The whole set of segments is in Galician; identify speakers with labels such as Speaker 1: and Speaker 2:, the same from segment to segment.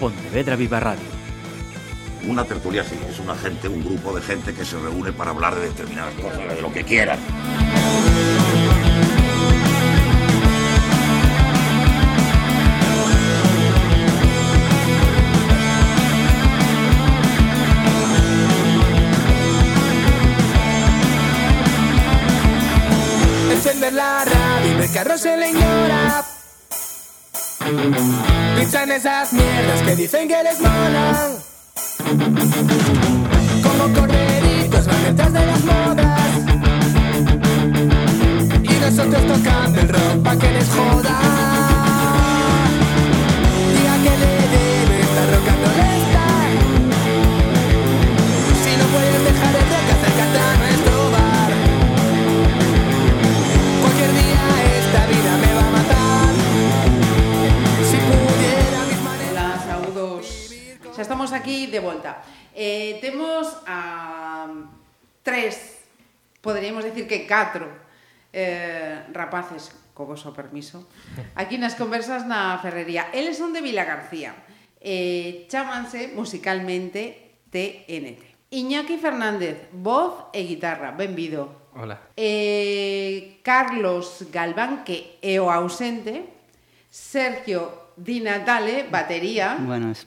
Speaker 1: Pontevedra Viva Radio.
Speaker 2: Una tertulia sí, es una gente, un grupo de gente que se reúne para hablar de determinadas cosas, de lo que quieran.
Speaker 3: Encender la radio y ver que a Rosé le ignora. Piensa en esas mierdas que dicen que les molan. Como corredicos van detrás de las modas. Y nosotros tocando el rock pa' que les joda. Diga que le debe estar rocando Si no puedes dejar el rock, acércate a nuestro bar. Cualquier día esta vida me va a matar. Si pudiera mis maneras.
Speaker 4: Hola, saúdos. Xa estamos aquí de volta. Eh, temos a tres, poderíamos decir que catro, eh, rapaces, co voso permiso, aquí nas conversas na ferrería. Eles son de Vila García. Eh, chámanse musicalmente TNT. Iñaki Fernández, voz e guitarra. Benvido.
Speaker 5: Hola.
Speaker 4: Eh, Carlos Galván, que é o ausente. Sergio Di Natale, batería.
Speaker 6: Buenas.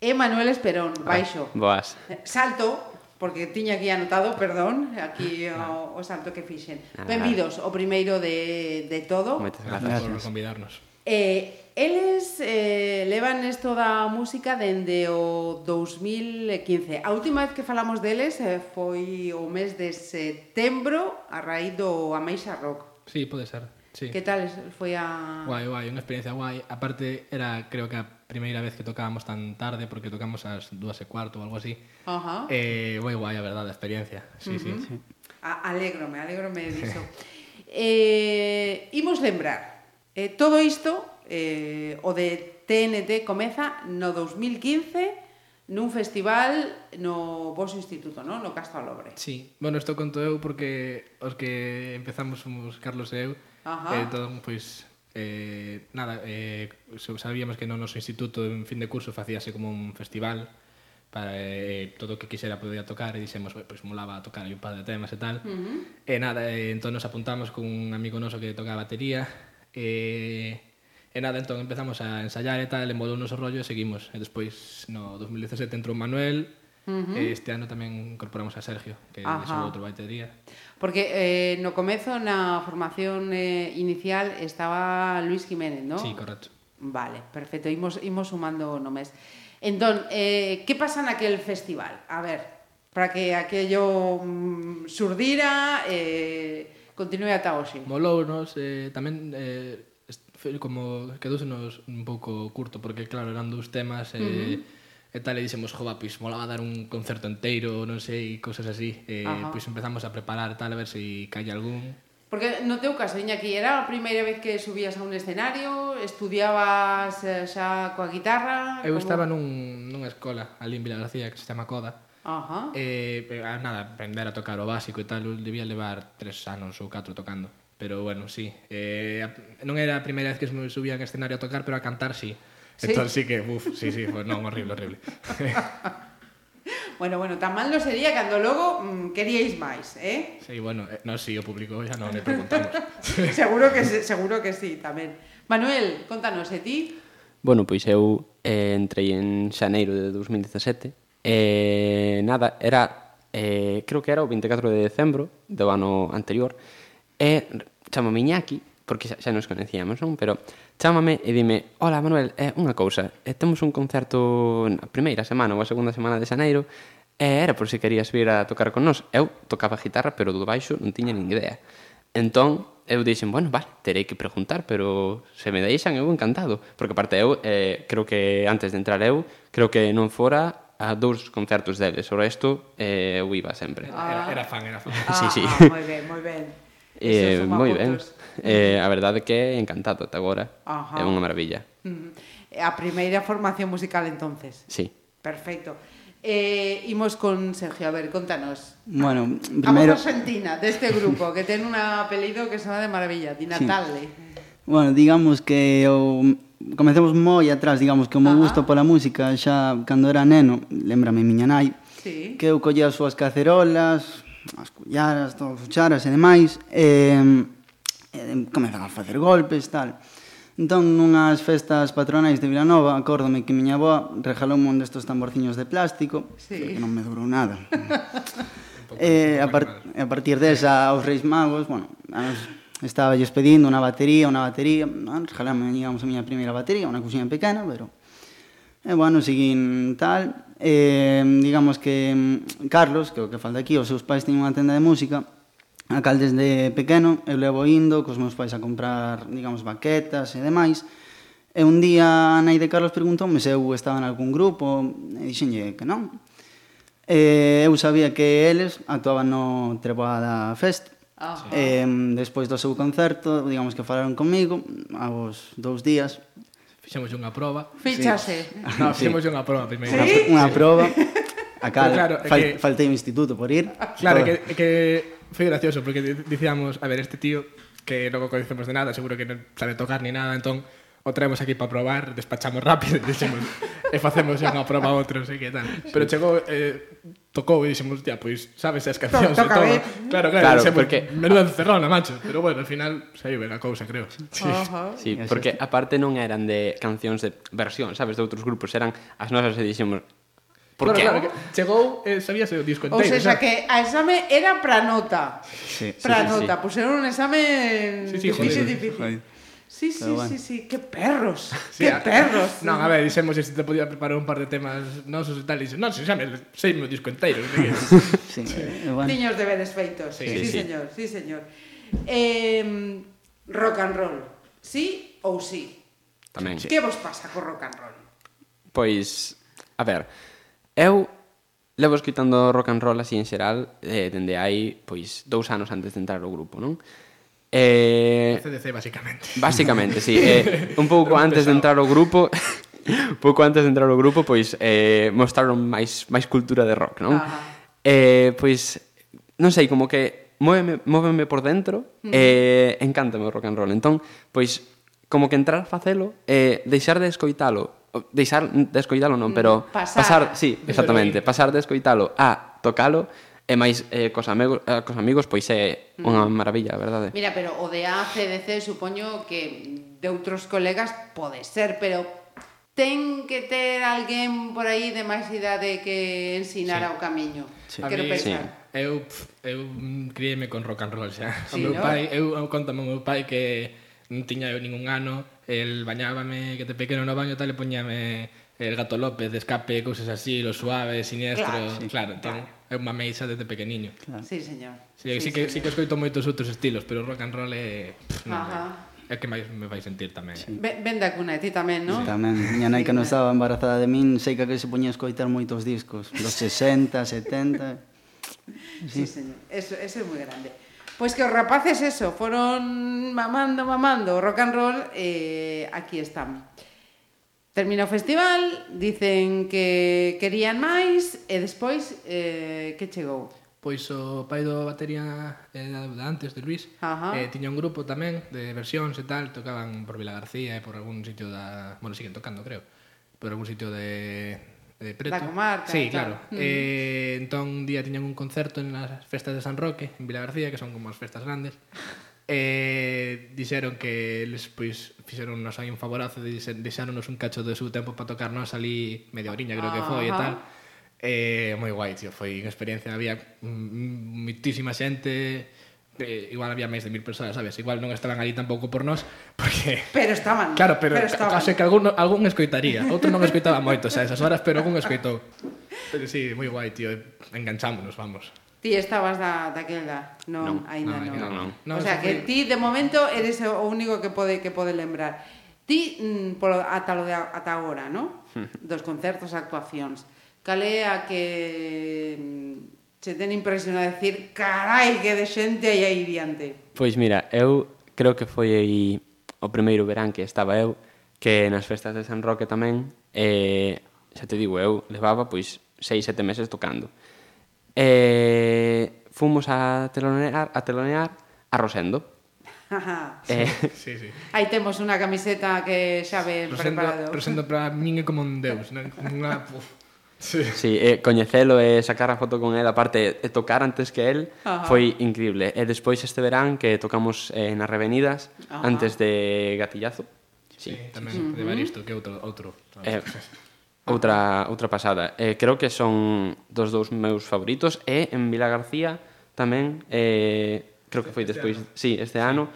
Speaker 4: E Manuel Esperón, baixo.
Speaker 5: Boas.
Speaker 4: Salto, porque tiña aquí anotado, perdón, aquí o, o salto que fixen.
Speaker 5: Nada.
Speaker 4: Benvidos, o primeiro de, de todo.
Speaker 5: Moitas
Speaker 7: Gracias,
Speaker 5: grazas.
Speaker 7: por convidarnos.
Speaker 4: Eh, eles eh, levan esto da música dende o 2015. A última vez que falamos deles eh, foi o mes de setembro a raíz do Ameixa Rock.
Speaker 7: Sí, pode ser. Sí.
Speaker 4: Que tal es- foi a...
Speaker 7: Guai, guai, unha experiencia guai. Aparte, era creo que a primeira vez que tocábamos tan tarde, porque tocamos ás dúas e cuarto ou algo así.
Speaker 4: Ajá.
Speaker 7: Eh, moi guai, a verdade, a experiencia. Sí, uh -huh. sí.
Speaker 4: A- Alégrome, alégrome diso. eh, imos lembrar, eh, todo isto, eh, o de TNT, comeza no 2015 nun festival no vosso instituto, no, no Castro Alobre.
Speaker 7: Sí, bueno, isto conto eu porque os que empezamos fomos Carlos e eu.
Speaker 4: Ajá.
Speaker 7: E entón, pois, eh, nada, eh, so- sabíamos que no noso instituto en fin de curso facíase como un festival para eh, todo o que quixera podía tocar e dixemos, "Oi, pois molaba tocar aí un par de temas e tal. Uh -huh. E nada, eh, entón nos apuntamos con un amigo noso que toca batería e, e nada, entón empezamos a ensayar e tal, embolou o noso rollo e seguimos. E despois no 2017 entrou Manuel, Uh -huh. Este ano tamén incorporamos a Sergio, que é
Speaker 4: Ajá.
Speaker 7: outro batería.
Speaker 4: Porque eh, no comezo na formación eh, inicial estaba Luis Jiménez, ¿no?
Speaker 7: Sí, correcto.
Speaker 4: Vale, perfecto, imos, imos sumando nomes. Entón, eh, que pasa naquel festival? A ver, para que aquello mm, surdira, eh, continue ata hoxe.
Speaker 7: Molounos, eh, tamén eh, est- foi como quedouse nos un pouco curto, porque claro, eran dous temas eh, e tal, e dixemos, jova, pois molaba dar un concerto enteiro, non sei, cosas así. Eh,
Speaker 4: Ajá.
Speaker 7: pois empezamos a preparar tal, a ver se si cae algún.
Speaker 4: Porque no teu caso, Iñaki, era a primeira vez que subías a un escenario, estudiabas eh, xa coa guitarra...
Speaker 7: Eu
Speaker 4: Ah, como-
Speaker 7: estaba nun, nunha escola, ali en Vila García, que se chama Coda,
Speaker 4: Ajá.
Speaker 7: Eh, eh, ah, nada, aprender a tocar o básico e tal, eu debía levar tres anos ou catro tocando. Pero bueno, sí. Eh, a- non era a primeira vez que me subía en escenario a tocar, pero a cantar sí.
Speaker 4: Sí?
Speaker 7: Entón sí que, buf, sí, sí, pues, non, horrible, horrible.
Speaker 4: Bueno, bueno, tan mal non sería cando logo mm, queríais máis, eh?
Speaker 7: sí, bueno, eh, non, sí, o público xa non le preguntamos.
Speaker 4: seguro que se- seguro que sí tamén. Manuel, contanos, e ti?
Speaker 5: Bueno, pois eu eh, entrei en xaneiro de 2017 e nada, era eh, creo que era o 24 de decembro do ano anterior e chamame Iñaki porque xa, xa nos conocíamos, non? Pero chámame e dime, hola Manuel, é eh, unha cousa, eh, temos un concerto na primeira semana ou a segunda semana de xaneiro e era por se querías vir a tocar con nós. Eu tocaba guitarra, pero do baixo non tiña nin idea. Entón, eu dixen, bueno, vale, terei que preguntar, pero se me deixan, eu encantado. Porque, aparte, eu, eh, creo que antes de entrar eu, creo que non fora a dous concertos deles. O resto, eh, eu iba sempre.
Speaker 7: Era, era fan, era fan.
Speaker 5: Sí, sí.
Speaker 4: Ah, moi ben, moi ben. Eso
Speaker 5: Eh,
Speaker 4: suma
Speaker 5: moi ben.
Speaker 4: puntos.
Speaker 5: Eh, a verdade é que é encantado ata agora.
Speaker 4: Ajá.
Speaker 5: É unha maravilla.
Speaker 4: Mm. A primeira formación musical entonces.
Speaker 5: Sí.
Speaker 4: Perfecto. Eh, imos con Sergio, a ver, contanos.
Speaker 6: Bueno, primero,
Speaker 4: Primero... A voz argentina deste grupo que ten un apelido que sona de maravilla, Di Natale.
Speaker 6: bueno, digamos que eu
Speaker 1: comecemos moi atrás, digamos, que o meu
Speaker 4: Ajá.
Speaker 1: gusto pola música xa cando era neno, lembrame miña nai,
Speaker 4: Sí.
Speaker 1: que eu collía as súas cacerolas, as cullaras, todas as cucharas e demais, e, e comezan a facer golpes, tal. Entón, nunhas festas patronais de Vilanova, acórdome que miña aboa regalou un destos tamborciños de plástico,
Speaker 4: Sí.
Speaker 1: que non me durou nada. eh, a, par a partir desa, aos Reis Magos, bueno, a nos estaba lles pedindo unha batería, unha batería, ah, regalame, digamos, a miña primeira batería, unha cousinha pequena, pero E Eh, bueno, seguín tal, eh, digamos que mm, Carlos, que é o que falta aquí, os seus pais teñen unha tenda de música, a cal desde pequeno, eu levo indo cos meus pais a comprar, digamos, baquetas e demais, e un día a nai de Carlos preguntoume se eu estaba en algún grupo, e dixenlle que non. E eu sabía que eles actuaban no Treboada Fest,
Speaker 4: Ajá.
Speaker 1: Eh, despois do seu concerto, digamos que falaron comigo, aos dous días,
Speaker 7: Fixemos unha proba.
Speaker 4: Fichase.
Speaker 7: No, fixemos unha proba primeiro.
Speaker 1: Unha, unha proba. A cal,
Speaker 7: Pero claro, é
Speaker 1: fal,
Speaker 7: que-
Speaker 1: faltei o instituto por ir.
Speaker 7: Claro, é que,
Speaker 1: Todo.
Speaker 7: é que foi gracioso, porque di- dicíamos, a ver, este tío, que non o coñecemos de nada, seguro que non sabe tocar ni nada, entón, o traemos aquí para probar, despachamos rápido, e dixemos, e facemos unha proba a outros, e que tal. Pero chegou, eh, tocou e dixemos, hostia, pois sabes as cancións
Speaker 4: toca
Speaker 7: e todo.
Speaker 4: ben.
Speaker 5: Claro,
Speaker 7: Claro, claro, claro dixemos,
Speaker 5: porque-
Speaker 7: porque... menuda encerrona, macho. Pero bueno, al final saiu ben a cousa,
Speaker 4: Oh.
Speaker 7: creo. Sí.
Speaker 4: Ajá.
Speaker 5: Sí, porque aparte non eran de cancións de versión, sabes, de outros grupos, eran as nosas e dixemos Por
Speaker 7: Claro,
Speaker 5: que?
Speaker 7: claro, que chegou, eh, sabíase o disco
Speaker 4: Ou
Speaker 7: inteiro.
Speaker 4: seja,
Speaker 7: xa.
Speaker 4: que a exame era pra nota.
Speaker 1: Sí.
Speaker 4: Pra
Speaker 5: sí, sí.
Speaker 4: nota. Puseron un examen
Speaker 7: Sí, sí,
Speaker 4: difícil,
Speaker 7: jodido,
Speaker 4: difícil.
Speaker 1: jodido.
Speaker 4: Sí, sí,
Speaker 1: Pero bueno.
Speaker 4: sí, sí. Qué perros.
Speaker 7: Sí,
Speaker 4: qué
Speaker 7: a-
Speaker 4: perros.
Speaker 7: Non, a ver, dixemos se te podía preparar un par de temas nosos e tal, e dixo, non, se xa me sei meu disco inteiro. non sei que-
Speaker 1: Sí, eh, bueno.
Speaker 4: Niños deberes feitos. Sí,
Speaker 7: Sí,
Speaker 5: sí.
Speaker 4: señor, sí, señor. Eh, rock and roll. Sí ou sí?
Speaker 5: Tamén.
Speaker 4: Que vos pasa co rock and roll?
Speaker 5: Pois, a ver, eu levo escutando rock and roll así en xeral eh, dende hai, pois, dous anos antes de entrar ao grupo, non? Eh,
Speaker 7: CDC, basicamente.
Speaker 5: Básicamente, sí. Eh, un pouco antes de entrar ao grupo, pouco antes de entrar ao grupo, pois eh, mostraron máis máis cultura de rock, non?
Speaker 4: Ajá.
Speaker 5: Eh, pois non sei, como que móveme, móveme por dentro, eh, encántame o rock and roll. Entón, pois como que entrar a facelo, eh, deixar de escoitalo, o- deixar de escoitalo non,
Speaker 4: Mm,
Speaker 5: pero
Speaker 4: Pasar.
Speaker 5: pasar sí, exactamente, pasar de escoitalo a tocalo e máis eh, cos amigos, eh, cos amigos pois é
Speaker 4: Mm.
Speaker 5: unha maravilla, a verdade.
Speaker 4: Mira, pero o de ACDC supoño que de outros colegas pode ser, pero ten que ter alguén por aí de máis idade que ensinara sí. o camiño. Sí.
Speaker 7: A
Speaker 4: Quero
Speaker 7: mí-
Speaker 4: pensar.
Speaker 7: Eu, pf, eu mm, crieme con rock and roll xa.
Speaker 4: Sí,
Speaker 7: o meu
Speaker 4: ¿no?
Speaker 7: pai, eu, eu contame o meu pai que non tiña eu ningún ano, el bañábame, que te pequeno no baño e tal, e poñame el gato López, de escape, cousas así, lo suave, siniestro...
Speaker 4: Claro,
Speaker 7: Claro,
Speaker 4: sí.
Speaker 7: sí. claro entón, é unha meixa desde pequeniño.
Speaker 4: Sí, señor.
Speaker 7: Sí, sí, sí, que, sí que escoito moitos outros estilos, pero rock and roll é... Pff, non,
Speaker 4: Ajá.
Speaker 7: é que máis me vai sentir tamén. Sí.
Speaker 4: Ve- Ven da cuna, e ti tamén, non?
Speaker 1: Tamén, miña nai que non estaba embarazada de min, sei que aquel se poñía a escoitar moitos discos, dos 60, 70.
Speaker 4: Sí, señor. Eso, eso é moi grande. Pois que os rapaces eso, foron mamando, mamando o rock and roll, eh, aquí están. Termina o festival, dicen que querían máis e despois eh, que chegou.
Speaker 7: Pois o pai do batería eh, da da antes, de Luis,
Speaker 4: Ajá.
Speaker 7: eh, tiña un grupo tamén de versións e tal, tocaban por Vila García e por algún sitio da... Bueno, siguen tocando, creo. Por algún sitio de, de Preto.
Speaker 4: Da comarca,
Speaker 7: Sí,
Speaker 4: claro. Mm.
Speaker 7: claro. Eh, entón, un día tiñan un concerto nas festas de San Roque, en Vila García, que son como as festas grandes. Eh, dixeron que les pois fixeron nos aí un favorazo, dixen- deixáronos un cacho do seu tempo para tocarnos ali media horiña, creo que foi e
Speaker 4: Ajá.
Speaker 7: tal. Eh, moi guai, tío, foi unha experiencia, había mm, mitísima xente, eh, igual había máis de mil persoas, sabes? Igual non estaban ali tampouco por nós, porque...
Speaker 4: Pero estaban.
Speaker 7: Claro, pero,
Speaker 4: pero
Speaker 7: pero
Speaker 4: estaban.
Speaker 7: case que algún, algún escoitaría. Outro non escoitaba moito, xa, esas horas, pero algún escoitou. Pero sí, moi guai, tío, enganchámonos, vamos.
Speaker 4: Ti estabas da, daquela, non,
Speaker 5: Non,
Speaker 4: aínda
Speaker 7: non,
Speaker 4: non.
Speaker 7: non, non.
Speaker 4: O
Speaker 7: Non,
Speaker 4: sea,
Speaker 7: esa
Speaker 4: que
Speaker 7: foi-
Speaker 4: ti de momento eres o único que pode que pode lembrar. Ti mm, polo ata lo de a- ata agora, ¿no? Dos concertos, actuacións. Cal é a que mm, che ten impresión a decir, carai, que de xente hai aí diante.
Speaker 5: Pois mira, eu creo que foi aí o primeiro verán que estaba eu que nas festas de San Roque tamén eh, xa te digo, eu levaba pois seis, sete meses tocando eh, fomos a telonear, a telonear a Rosendo
Speaker 4: Ajá.
Speaker 5: Eh,
Speaker 7: Sí, sí.
Speaker 4: Aí temos unha camiseta que xa ven preparado.
Speaker 7: Presento, presento para min é como un deus, non? Como Unha... puf. Sí.
Speaker 5: Sí, eh, coñecelo e sacar a foto con el, aparte e tocar antes que el,
Speaker 4: Ajá.
Speaker 5: foi increíble. E despois este verán que tocamos eh, nas Revenidas
Speaker 4: Ajá.
Speaker 5: antes de Gatillazo.
Speaker 7: Sí,
Speaker 5: Sí.
Speaker 7: tamén de Baristo, que é outro, outro.
Speaker 5: Eh, outra outra pasada. Eh, creo que son dos dous meus favoritos e en Vila García tamén eh, creo que foi despois, sí, este ano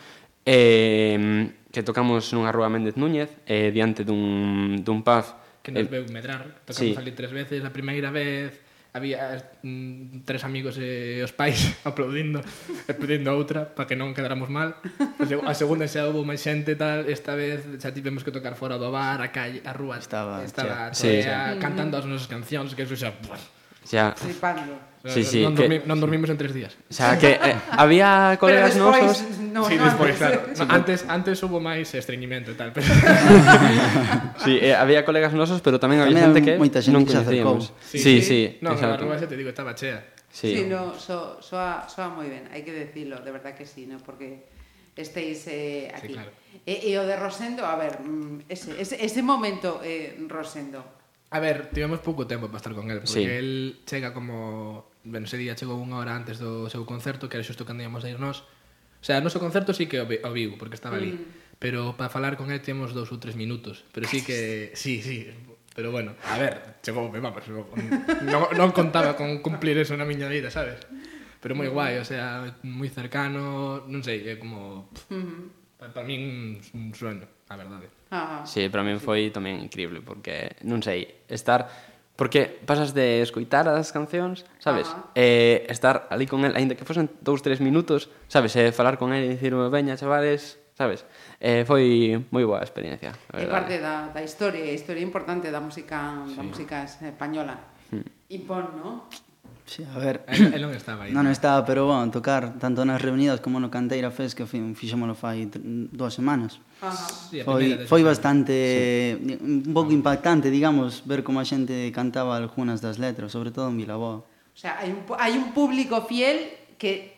Speaker 5: eh, que tocamos nunha rúa Méndez Núñez eh, diante dun, dun pub
Speaker 7: que nos
Speaker 5: eh,
Speaker 7: veu medrar. Tocamos
Speaker 5: sí.
Speaker 7: ali tres veces, a primeira vez había mm, tres amigos e os pais aplaudindo e pedindo outra para que non quedáramos mal. A seg- A segunda xa houve máis xente e tal, esta vez xa tivemos que tocar fora do bar, a calle, a rúa
Speaker 1: Estaba
Speaker 5: chea.
Speaker 7: estaba
Speaker 5: Sí.
Speaker 4: Mm.
Speaker 7: chea, cantando as nosas cancións, que eso xa... Buah,
Speaker 5: xa,
Speaker 4: Flipando.
Speaker 5: Sí, sí,
Speaker 7: non,
Speaker 5: que-
Speaker 7: dormi, non dormimos en tres días.
Speaker 5: xa que eh, había
Speaker 4: Pero
Speaker 5: colegas
Speaker 4: despois,
Speaker 5: nosos
Speaker 4: No,
Speaker 7: sí,
Speaker 4: no,
Speaker 7: despois,
Speaker 4: antes.
Speaker 7: claro. No, antes, antes houve máis estreñimento e tal, pero...
Speaker 5: Sí, eh, había colegas nosos, pero tamén había
Speaker 1: Tamén
Speaker 5: xente que
Speaker 1: moita xente
Speaker 5: non
Speaker 1: que se acercou.
Speaker 5: coñecíamos. Sí, sí,
Speaker 7: No, a
Speaker 5: exacto.
Speaker 7: rúa xa te digo, estaba chea.
Speaker 5: Sí.
Speaker 4: Sí, no, so, soa, soa moi ben, hai que decirlo, de verdad que sí, ¿no? porque estéis eh, aquí.
Speaker 7: claro.
Speaker 4: e, e o de Rosendo, a ver, mm, ese, ese, ese momento, eh, Rosendo,
Speaker 7: A ver, tivemos pouco tempo para estar con el, porque
Speaker 5: Sí.
Speaker 7: el chega como... Ben, ese día chegou unha hora antes do seu concerto, que era xusto cando íamos a irnos. O sea, o noso concerto sí que o vi- o viu, porque estaba ali. Mm. Pero para falar con el temos dous ou tres minutos. Pero sí que... Sí, sí. Pero bueno, a ver, chegou, vamos. Non, non contaba con cumplir eso na miña vida, sabes? Pero moi guai, o sea, moi cercano, non sei, é como... Para pa min un sueño, a verdade.
Speaker 4: Ajá.
Speaker 5: Sí, para min foi tamén increíble porque non sei, estar porque pasas de escoitar as cancións, sabes?
Speaker 4: Ajá.
Speaker 5: Eh, estar ali con el, aínda que fosen dous, tres minutos, sabes, eh, falar con el e dicirme, "Veña, chavales", sabes? Eh, foi moi boa experiencia, a
Speaker 4: é
Speaker 5: verdade.
Speaker 4: parte da, da historia, a historia importante da música, sí. da música eh, española.
Speaker 5: Hmm.
Speaker 4: Impón, ¿no?
Speaker 1: Sí, a ver.
Speaker 7: El, el non estaba aí.
Speaker 1: Non, non estaba, pero bueno, tocar tanto nas reunidas como no Canteira Fest que fi- fixémoslo fai tr- dúas semanas.
Speaker 4: Ajá.
Speaker 7: Sí, a primeira
Speaker 1: Foi,
Speaker 7: de
Speaker 1: foi bastante sí. un pouco impactante, digamos, ver como a xente cantaba algunhas das letras, sobre todo en Bilbao.
Speaker 4: O sea, hai un, pu- hai un público fiel que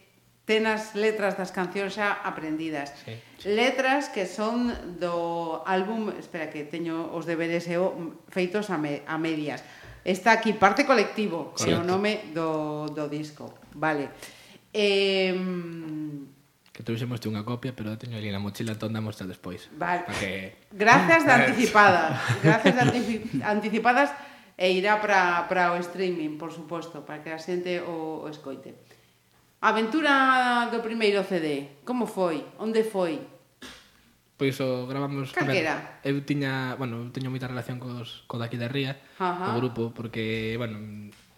Speaker 4: ten as letras das cancións xa aprendidas. Sí, sí. Letras que son do álbum, espera que teño os deberes eu mm, feitos a, me, a medias. Está aquí parte colectivo, que é o
Speaker 7: Correcto.
Speaker 4: nome do, do disco. Vale. Eh,
Speaker 7: Que tuvísemos unha copia, pero a teño ali na mochila, entón damos tal despois.
Speaker 4: Vale.
Speaker 7: Pa que...
Speaker 4: gracias
Speaker 7: Eh.
Speaker 4: de anticipadas. Gracias de antici- anticipadas e irá para para o streaming, por suposto, para que a xente o, o escoite. Aventura do primeiro CD, como foi? Onde foi?
Speaker 7: Pois o gravamos... a
Speaker 4: Cal que
Speaker 7: ver,
Speaker 4: era?
Speaker 7: Eu tiña... Bueno, eu teño moita relación cos, co daqui da Ría,
Speaker 4: Ajá.
Speaker 7: o grupo, porque, bueno...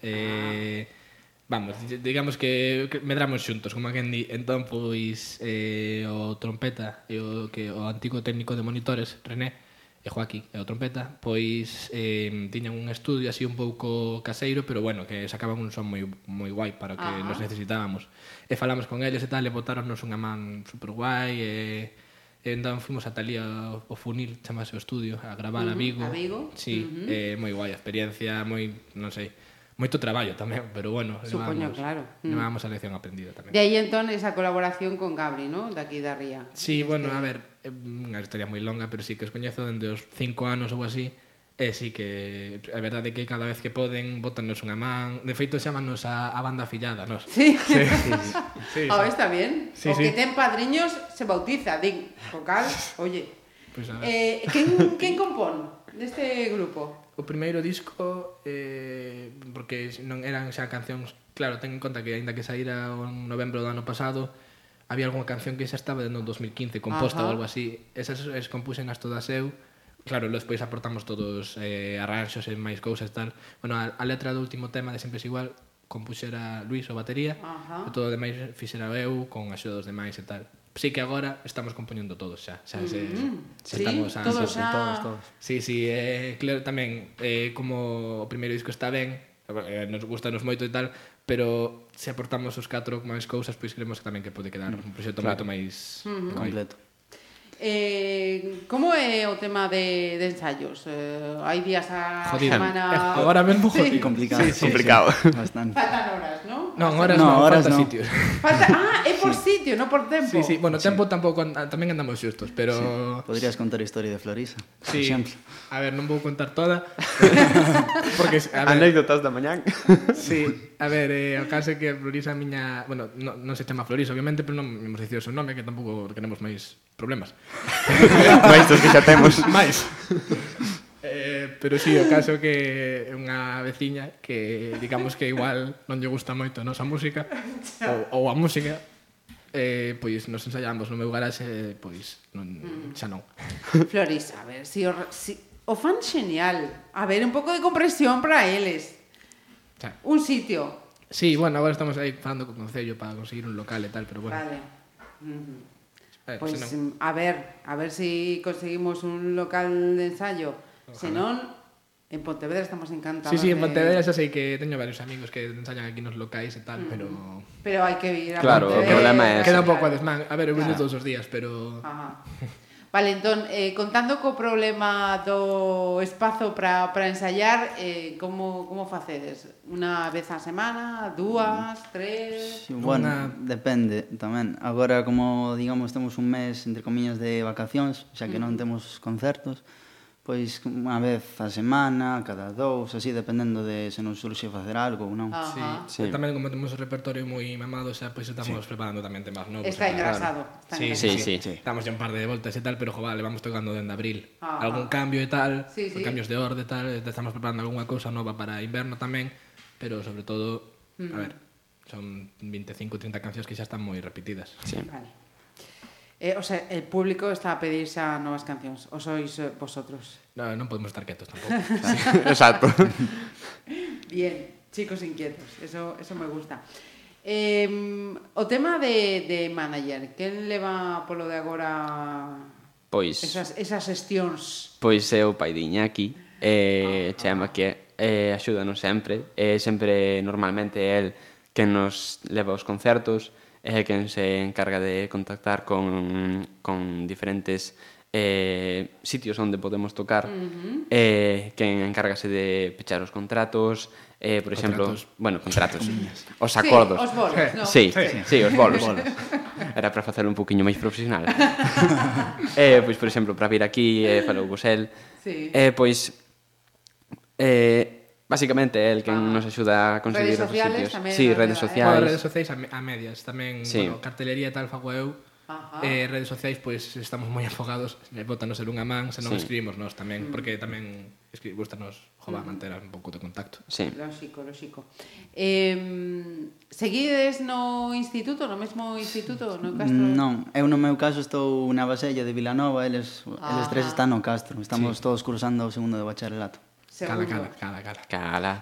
Speaker 7: Eh, Vamos, di- digamos que que medramos xuntos, como a quen di. Entón, pois, eh, o trompeta e o, que, o antigo técnico de monitores, René, e Joaquín, e o trompeta, pois eh, tiñan un estudio así un pouco caseiro, pero bueno, que sacaban un son moi, moi guai para o que
Speaker 4: Ajá.
Speaker 7: nos necesitábamos. E falamos con eles e tal, e botáronnos unha man super guai, e, e entón fomos ata ali ao, ao funil, chamase o estudio, a gravar a Vigo.
Speaker 4: a Vigo.
Speaker 7: Sí, eh, moi guai, a experiencia, moi, non sei, moito traballo tamén, pero bueno,
Speaker 4: Supoño,
Speaker 7: levamos,
Speaker 4: claro. Mm.
Speaker 7: levamos a lección aprendida tamén.
Speaker 4: De aí entón esa colaboración con Gabri, ¿no? De aquí da Ría.
Speaker 7: Sí, bueno, a ver, é unha historia moi longa, pero sí que os coñezo dende os cinco anos ou así, e sí que a verdade é que cada vez que poden botannos unha man, de feito chamannos a, a banda afillada, nos.
Speaker 4: Sí.
Speaker 7: sí, sí, sí.
Speaker 4: Ah, está bien. o
Speaker 7: Sí,
Speaker 4: que
Speaker 7: sí.
Speaker 4: ten padriños se bautiza, din. O cal, oye.
Speaker 7: Pois a ver.
Speaker 4: eh, quen, quen compón deste grupo?
Speaker 7: O primeiro disco eh, porque non eran xa cancións, claro, ten en conta que aínda que saíra en novembro do ano pasado, había algunha canción que xa estaba no 2015 composta
Speaker 4: Ajá.
Speaker 7: ou algo así. Esas es compúxenas todas eu. Claro, despois aportamos todos eh, arranxos e máis cousas tal. Bueno, a, a letra do último tema de Sempre es igual compuxera Luis o batería
Speaker 4: Ajá.
Speaker 7: e todo o demais fixera eu con axuda dos demais e tal. Sí que agora estamos compoñendo todos xa, xa, xa, xa
Speaker 4: Mm-hmm. Sí,
Speaker 7: estamos a,
Speaker 4: todos a...
Speaker 1: Todos, todos.
Speaker 7: Sí, sí, eh, claro, tamén eh, como o primeiro disco está ben eh, nos gusta nos moito e tal pero se aportamos os catro máis cousas pois creemos que tamén que pode quedar un proxecto moito máis guai.
Speaker 1: completo.
Speaker 4: Eh, como é o tema de, de ensaios? Eh, hai días a
Speaker 7: Jodido.
Speaker 4: semana...
Speaker 7: Eh, Agora mesmo
Speaker 4: Sí.
Speaker 7: jodido.
Speaker 1: Complicado.
Speaker 5: complicado.
Speaker 1: Bastante.
Speaker 4: Faltan horas, ¿no?
Speaker 7: Non, horas
Speaker 1: No,
Speaker 7: non, no,
Speaker 1: horas
Speaker 7: falta
Speaker 1: non.
Speaker 7: sitios.
Speaker 4: Falta... Ah, é por sitio, non por tempo.
Speaker 7: Sí, sí, bueno, tempo tampouco, an- tamén andamos xustos, pero...
Speaker 1: Podrías contar a historia de Florisa, por
Speaker 7: Sí,
Speaker 1: exemplo.
Speaker 7: a ver, non vou contar toda porque a ver,
Speaker 5: Anécdotas da mañán.
Speaker 7: Sí, a ver, eh, o caso é que Florisa miña... Bueno, no, non se chama Florisa, obviamente, pero non imos dicir o seu nome, que tampouco queremos máis problemas.
Speaker 5: Mais dos que xa temos.
Speaker 7: máis. Eh, pero sí, o caso é que é unha veciña que digamos que igual non lle gusta moito a nosa música ou, ou a música eh, pois nos ensaiamos no meu garaxe pois
Speaker 4: Mm.
Speaker 7: non, xa non
Speaker 4: Floris, a ver, si o, re- si, o fan xenial. A ver, un pouco de compresión para eles.
Speaker 7: Xa.
Speaker 4: Un sitio.
Speaker 7: Sí, bueno, agora estamos aí falando co Concello para conseguir un local e tal, pero bueno
Speaker 4: Vale.
Speaker 7: eh,
Speaker 4: Pois, mm,
Speaker 7: senón-
Speaker 4: a ver, a ver si conseguimos un local de ensayo. Se non, en Pontevedra estamos encantados.
Speaker 7: Sí, sí,
Speaker 4: de-
Speaker 7: en Pontevedra xa sei que teño varios amigos que ensayan aquí nos locais e
Speaker 4: Mm.
Speaker 7: tal, pero...
Speaker 4: Pero hai que ir a
Speaker 5: Claro, o
Speaker 4: Pontevedra.
Speaker 5: problema é ese.
Speaker 7: Queda un pouco a desmán. A ver, eu veño todos os días, pero...
Speaker 4: Ajá. Vale, entón, eh, contando co problema do espazo para para ensaiar, eh, como, como facedes? Unha vez a semana? Dúas?
Speaker 5: Mm.
Speaker 4: Tres?
Speaker 1: Sí,
Speaker 7: Una-
Speaker 1: bueno, depende tamén. Agora, como, digamos, temos un mes, entre comillas, de vacacións, xa que non temos concertos, pois unha vez a semana, cada dous, así, dependendo de se nos surxe facer algo ou non.
Speaker 4: Ajá.
Speaker 5: Sí.
Speaker 7: Sí. sí. Tamén como temos un repertorio moi mamado, xa pois estamos sí. preparando tamén temas novos.
Speaker 4: Está
Speaker 7: e tal.
Speaker 4: engrasado. Está
Speaker 7: Sí,
Speaker 4: engrasado.
Speaker 5: Sí,
Speaker 7: sí.
Speaker 5: sí.
Speaker 7: Damos ya un par de voltas e tal, pero jo, vale, vamos tocando dende abril.
Speaker 4: Ajá.
Speaker 7: Algún cambio e tal,
Speaker 4: Sí, sí.
Speaker 7: cambios de orde e tal, estamos preparando algunha cousa nova para inverno tamén, pero sobre todo, mm. a ver, son 25 30 cancións que xa están moi repetidas.
Speaker 5: Sí.
Speaker 4: Vale. Eh, o sea, el público está a pedir xa novas cancións, ou sois eh, vosotros.
Speaker 7: No, non podemos estar quietos tampouco.
Speaker 5: Exacto.
Speaker 4: Bien, chicos inquietos, eso, eso me gusta. Eh, o tema de, de manager, quen leva polo de agora
Speaker 5: Pois...
Speaker 4: esas, esas xestións?
Speaker 5: Pois é o pai de Iñaki eh, Chama que eh, axúdanos sempre eh, Sempre normalmente é el que nos leva aos concertos É eh, quen se encarga de contactar con, con diferentes eh, sitios onde podemos tocar uh -huh. eh, Quen encárgase de pechar os contratos eh, Por exemplo,
Speaker 7: Contratos.
Speaker 5: bueno, contratos Os acordos
Speaker 4: Sí, os bolos, no?
Speaker 5: Sí, sí, sí, os bolos. Era para facelo un poquinho máis profesional. eh, pois, por exemplo, para vir aquí, eh, falou vos el.
Speaker 4: Sí.
Speaker 5: Eh, pois, eh, basicamente é el que nos axuda a conseguir
Speaker 4: Redes
Speaker 5: os
Speaker 4: sociales
Speaker 5: sitios.
Speaker 4: tamén
Speaker 5: sí,
Speaker 4: nos
Speaker 5: redes
Speaker 4: leva, eh?
Speaker 7: Bueno,
Speaker 5: sociais.
Speaker 7: redes sociais a, me- a medias tamén,
Speaker 5: Sí.
Speaker 7: sí. bueno, cartelería e tal fago eu.
Speaker 4: Ajá.
Speaker 7: Eh, redes sociais pois pues, estamos moi afogados, eh, botanos el unha man, se non
Speaker 5: Sí.
Speaker 7: sí. escribimos nós tamén,
Speaker 4: Mm.
Speaker 7: porque tamén escri gustanos jova manter un pouco de contacto.
Speaker 5: Sí.
Speaker 4: Lógico, lógico. Eh, seguides no instituto, no mesmo instituto, no Castro?
Speaker 1: Non, eu no meu caso estou na Basella de Vilanova, eles, eles tres
Speaker 4: Ajá.
Speaker 1: están no Castro, estamos sí. todos cursando o segundo de bacharelato.
Speaker 7: Cala,
Speaker 4: Segundo.
Speaker 7: cala, cala, cala.
Speaker 5: Cala.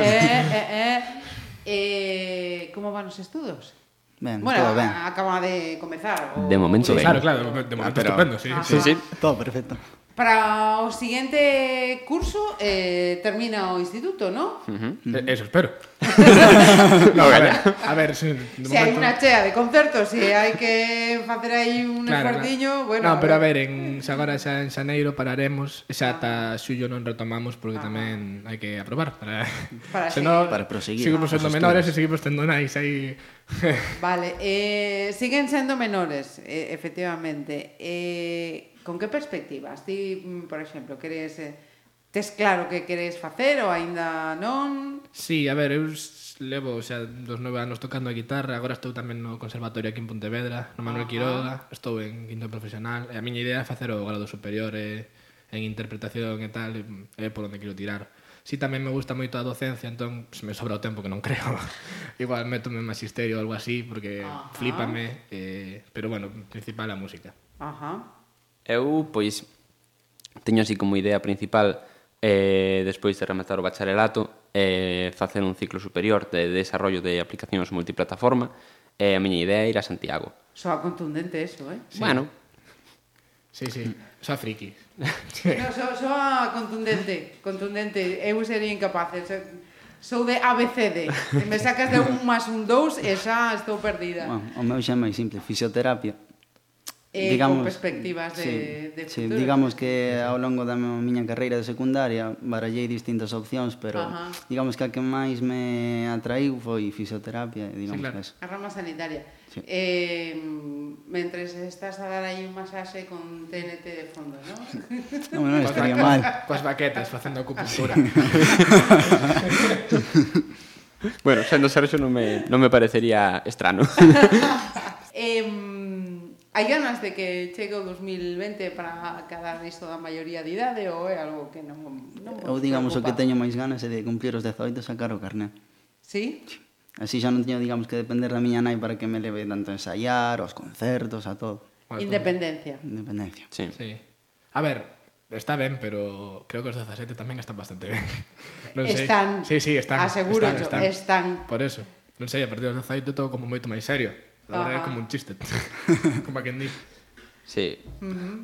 Speaker 4: Eh, eh, eh. Eh, como van os estudos?
Speaker 1: Ben,
Speaker 4: bueno, ah.
Speaker 1: todo ben.
Speaker 4: acaba de comezar. O...
Speaker 5: De momento ben.
Speaker 7: Claro, claro, de momento
Speaker 5: Ah, pero-
Speaker 7: estupendo, sí.
Speaker 4: Ajá.
Speaker 7: sí.
Speaker 1: Todo perfecto.
Speaker 4: Para o siguiente curso eh, termina o instituto, ¿no?
Speaker 7: Eh, Eso espero. no, a ver, a ver, sí, de
Speaker 4: Se hai unha chea de concertos e hai que facer aí un esforciño, bueno...
Speaker 7: no, pero a ver, en, xa agora xa en xaneiro pararemos, e
Speaker 4: Ah.
Speaker 7: xa ata xullo non retomamos porque tamén hai que aprobar para,
Speaker 4: Para
Speaker 7: senón
Speaker 1: Para proseguir.
Speaker 7: Seguimos
Speaker 1: Os
Speaker 7: sendo
Speaker 1: estudos.
Speaker 7: menores e seguimos tendo nais aí
Speaker 4: Vale, eh, siguen sendo menores, eh, efectivamente. Eh, con que perspectivas? Ti, mm, por exemplo, queres... Eh, tes claro que queres facer ou aínda non?
Speaker 7: Sí, a ver, eu s- levo xa dos nove anos tocando a guitarra, agora estou tamén no conservatorio aquí en Pontevedra, no Manuel Quiroga, estou en quinto profesional, e a miña idea é facer o grado superior e, en interpretación e tal, e, é por onde quero tirar. Sí, tamén me gusta moito a docencia, entón pues, me sobra o tempo que non creo. Igual métome en magisterio ou algo así, porque
Speaker 4: Ajá.
Speaker 7: flipame, eh, pero bueno, principal a música.
Speaker 4: Ajá.
Speaker 5: Eu, pois, teño así como idea principal eh, despois de rematar o bacharelato eh, facer un ciclo superior de desarrollo de aplicacións multiplataforma e eh, a miña idea é ir a Santiago.
Speaker 4: Soa contundente eso, eh?
Speaker 5: Sí. Bueno,
Speaker 7: Sí, sí,
Speaker 1: Mm.
Speaker 7: xa friki.
Speaker 4: No, so, soa contundente, contundente. Eu sería incapaz. Sou, sou de ABCD. Se me sacas de un más un dous e xa estou perdida.
Speaker 1: Bueno, o meu xa é máis simple, fisioterapia.
Speaker 4: eh, con perspectivas de,
Speaker 1: sí,
Speaker 4: de
Speaker 1: sí,
Speaker 4: futuro.
Speaker 1: digamos que ao longo da miña carreira de secundaria barallei distintas opcións, pero
Speaker 4: Ajá.
Speaker 1: digamos que a que máis me atraiu foi fisioterapia, e digamos sí,
Speaker 7: claro.
Speaker 1: claro. que eso.
Speaker 4: A rama sanitaria.
Speaker 1: Sí.
Speaker 4: Eh, mentres estás a dar aí un masaxe con TNT de fondo, ¿no?
Speaker 1: Non, non estaría mal.
Speaker 7: Coas baquetas facendo acupuntura.
Speaker 5: Bueno, sendo Sergio non me, non me parecería estrano.
Speaker 4: eh, hai ganas de que chegue o 2020 para acabar isto da maioría de idade ou é algo que non, non vos
Speaker 1: Ou digamos o que
Speaker 4: preocupa?
Speaker 1: teño máis ganas é de cumplir os 18 e sacar o carné.
Speaker 4: Sí?
Speaker 1: Así xa non teño, digamos, que depender da miña nai para que me leve tanto a ensaiar, aos concertos, a todo.
Speaker 4: Independencia.
Speaker 1: Independencia.
Speaker 5: Sí.
Speaker 7: Sí. A ver, está ben, pero creo que os 17 tamén están bastante ben. Non sei.
Speaker 4: Están,
Speaker 7: Sí, sí, están.
Speaker 4: aseguro yo,
Speaker 7: están,
Speaker 4: están.
Speaker 7: Por eso. Non sei, a partir dos 18 todo como moito máis serio. Agora é
Speaker 4: Ajá.
Speaker 7: como un chiste. como a quen di.
Speaker 5: Sí.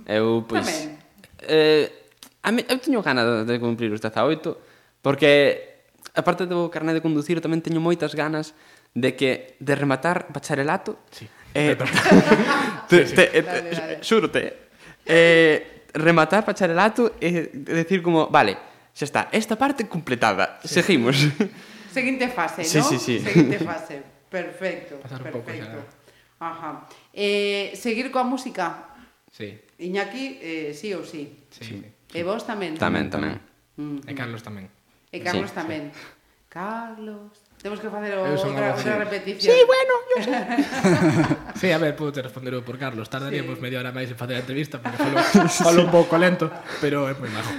Speaker 5: Eu, pois...
Speaker 4: Tamén.
Speaker 5: Eh, a mí, eu teño ganas de cumprir os 18 porque, aparte do carnet de conducir, tamén teño moitas ganas de que de rematar bacharelato
Speaker 7: Sí.
Speaker 5: eh,
Speaker 7: Sí,
Speaker 5: te,
Speaker 7: sí.
Speaker 5: te, te,
Speaker 4: Dale, dale.
Speaker 5: xúrote eh, rematar bacharelato e decir como, vale, xa está, esta parte completada, seguimos.
Speaker 4: Seguinte fase,
Speaker 5: Sí,
Speaker 4: ¿no?
Speaker 5: sí, sí.
Speaker 4: Seguinte fase. Perfecto,
Speaker 7: Pasar un pouco
Speaker 4: perfecto.
Speaker 7: xa.
Speaker 4: Ajá. Eh, seguir coa música.
Speaker 7: Sí,
Speaker 4: Iñaki, eh, sí ou sí.
Speaker 7: sí. sí.
Speaker 4: E vos tamén.
Speaker 5: tamén, tamén.
Speaker 7: E Carlos tamén.
Speaker 4: E Carlos
Speaker 5: Sí,
Speaker 4: tamén. Carlos. Temos que facer o-
Speaker 7: Eu son
Speaker 4: outra,
Speaker 7: algo así.
Speaker 4: outra repetición. Sí, bueno.
Speaker 7: Sí, a ver, puedo te responder eu por Carlos. Tardaríamos sí. media hora máis en facer a entrevista porque falo, falo un pouco lento, pero é moi majo.